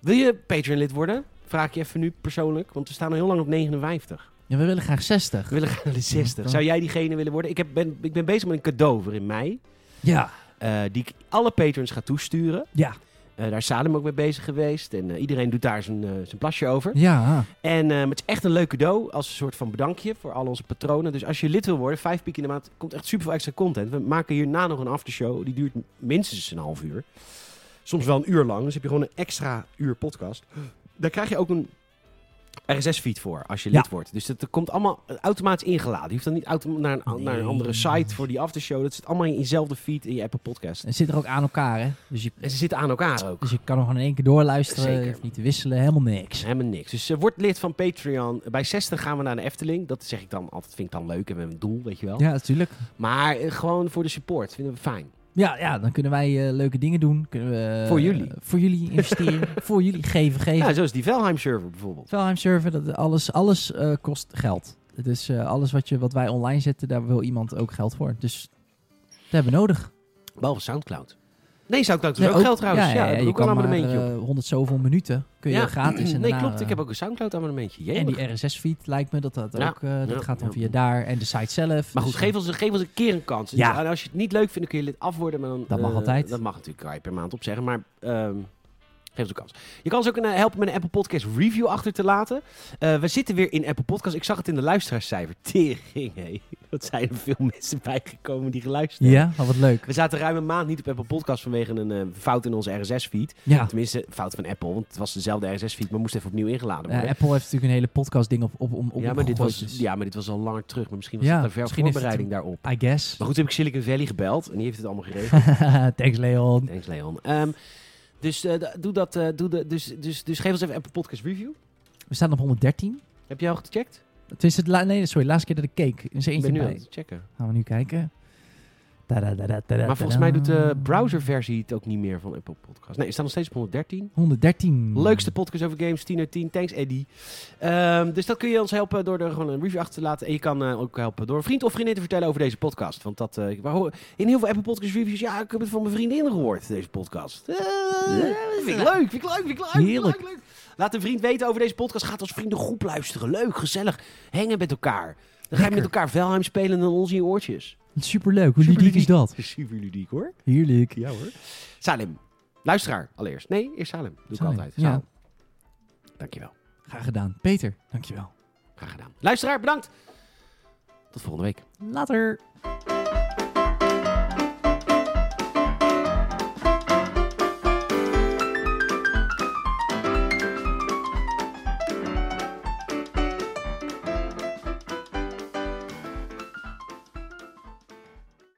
S1: wil je Patreon-lid worden? Vraag ik je even nu persoonlijk, want we staan al heel lang op 59.
S2: Ja, we willen graag 60.
S1: We willen gaan naar de 60. Zou jij diegene willen worden? Ik, heb, ben, ik ben bezig met een cadeau voor in mei.
S2: Ja.
S1: eh, die ik alle patrons ga toesturen.
S2: Ja.
S1: Eh, daar is Salem ook mee bezig geweest. En eh, iedereen doet daar zijn, eh, zijn plasje over.
S2: Ja.
S1: En ehm, het is echt een leuk cadeau. Als een soort van bedankje voor al onze patronen. Dus als je lid wil worden, vijf piek in de maand. Komt echt super veel extra content. We maken hierna nog een aftershow. Die duurt minstens een half uur. Soms wel een uur lang. Dus heb je gewoon een extra uur podcast. Daar krijg je ook een RSS-feed voor als je lid
S2: Ja.
S1: wordt. Dus dat dat komt allemaal automatisch ingeladen. Je hoeft dan niet autom- naar, een, naar een
S2: Nee.
S1: andere site voor die aftershow. Dat zit allemaal in jezelfde feed in je Apple Podcast.
S2: En het zit er ook aan elkaar, hè? Dus je,
S1: En ze zitten aan elkaar ook.
S2: dus je kan hem gewoon in één keer doorluisteren.
S1: Zeker.
S2: Je hoeft niet te wisselen, helemaal niks.
S1: Helemaal niks. Dus eh, word lid van Patreon. Bij 60 gaan we naar de Efteling. Dat zeg ik dan altijd, vind ik dan leuk en we hebben een doel, weet je wel.
S2: Ja, natuurlijk.
S1: Maar eh, gewoon voor de support, vinden we fijn.
S2: Ja, ja, dan kunnen wij eh, leuke dingen doen. Kunnen we, eh,
S1: Voor jullie.
S2: voor jullie investeren. voor jullie geven, geven.
S1: Ja, zoals die Velheim server bijvoorbeeld.
S2: Valheim server, dat alles, alles eh, kost geld. Dus eh, alles wat, je, wat wij online zetten, daar wil iemand ook geld voor. Dus dat hebben we nodig.
S1: Behalve Soundcloud. Nee, Soundcloud is
S2: Nee,
S1: ook, geld trouwens. Ja, ik heb
S2: je
S1: ook wel
S2: kan
S1: een
S2: maar
S1: abonnementje op.
S2: eh, 100 zoveel minuten kun je
S1: Ja.
S2: gratis. En
S1: nee,
S2: daarna,
S1: klopt. Ik
S2: eh,
S1: heb ook een Soundcloud abonnementje.
S2: En
S1: Jemig.
S2: die RSS-feed lijkt me dat dat
S1: Ja.
S2: ook... eh, dat
S1: Ja.
S2: gaat dan
S1: Ja.
S2: via daar en de site zelf.
S1: Maar goed,
S2: Dus,
S1: geef ons, geef ons een keer een kans.
S2: Ja.
S1: En als je het niet leuk vindt, dan kun je lid af worden. Maar dan,
S2: Dat mag
S1: eh,
S2: altijd.
S1: Dat mag natuurlijk, kan je per maand opzeggen. Maar ehm, geef ons een kans. Je kan ons ook een, eh, helpen met een Apple Podcast review achter te laten. Eh, we zitten weer in Apple Podcast. Ik zag het in de luisteraarscijfer. Tering, hé. Dat zijn er veel mensen bijgekomen die geluisterd hebben.
S2: Ja, oh, wat leuk.
S1: We zaten ruim een maand niet op Apple Podcast vanwege een eh, fout in onze RSS-feed.
S2: Ja.
S1: Tenminste, fout van Apple, want het was dezelfde RSS-feed, maar moest even opnieuw ingeladen worden.
S2: Ja, Eh, Apple heeft natuurlijk een hele podcast-ding op, op, om, op
S1: ja, maar dit was,
S2: omgegooid, dus
S1: ja, maar dit was al langer terug. Maar misschien was
S2: Ja,
S1: het een ver
S2: misschien is het
S1: voorbereiding daarop.
S2: I guess.
S1: Maar goed, toen heb ik Silicon Valley gebeld en die heeft het allemaal geregeld.
S2: Thanks, Leon.
S1: Thanks, Leon. Ehm, dus, eh, d- doe dat, eh, doe de, dus, dus, dus geef ons even een podcast review.
S2: We staan op 113.
S1: Heb jij al gecheckt?
S2: Het is het la- nee, sorry, de laatste keer dat ik keek. Er is er
S1: Ik ben
S2: eentje
S1: nu aan
S2: bij.
S1: het checken.
S2: Gaan we nu kijken. Tadadadadada.
S1: Maar volgens mij doet eh, de browserversie het ook niet meer van Apple Podcast. Nee, we staan nog steeds op 113.
S2: 113.
S1: Leukste podcast over games, 10 uit 10. Thanks, Eddie. Ehm, dus dat kun je ons helpen door er gewoon een review achter te laten. En je kan eh, ook helpen door een vriend of vriendin te vertellen over deze podcast. Want dat, eh, waar hoor- in heel veel Apple Podcast reviews, ja, ik heb het van mijn vriendin gehoord, deze podcast. Eh, vind ik leuk, vind ik leuk, vind ik leuk. vind ik
S2: Heerlijk.
S1: leuk, leuk. Laat een vriend weten over deze podcast. Gaat als vriendengroep luisteren. Leuk, gezellig. Hangen met elkaar. Dan ga je
S2: Lekker.
S1: met elkaar Velheim spelen en dan ons in je oortjes.
S2: Superleuk. Hoe ludiek is dat?
S1: Super ludiek hoor.
S2: Heerlijk.
S1: Ja hoor. Salim. Luisteraar allereerst. Nee, eerst Salim. Doe
S2: Salim,
S1: ik altijd.
S2: ja.
S1: Salim. Dankjewel.
S2: Graag gedaan. Peter, dankjewel.
S1: Graag gedaan. Luisteraar, bedankt. Tot volgende week.
S2: Later.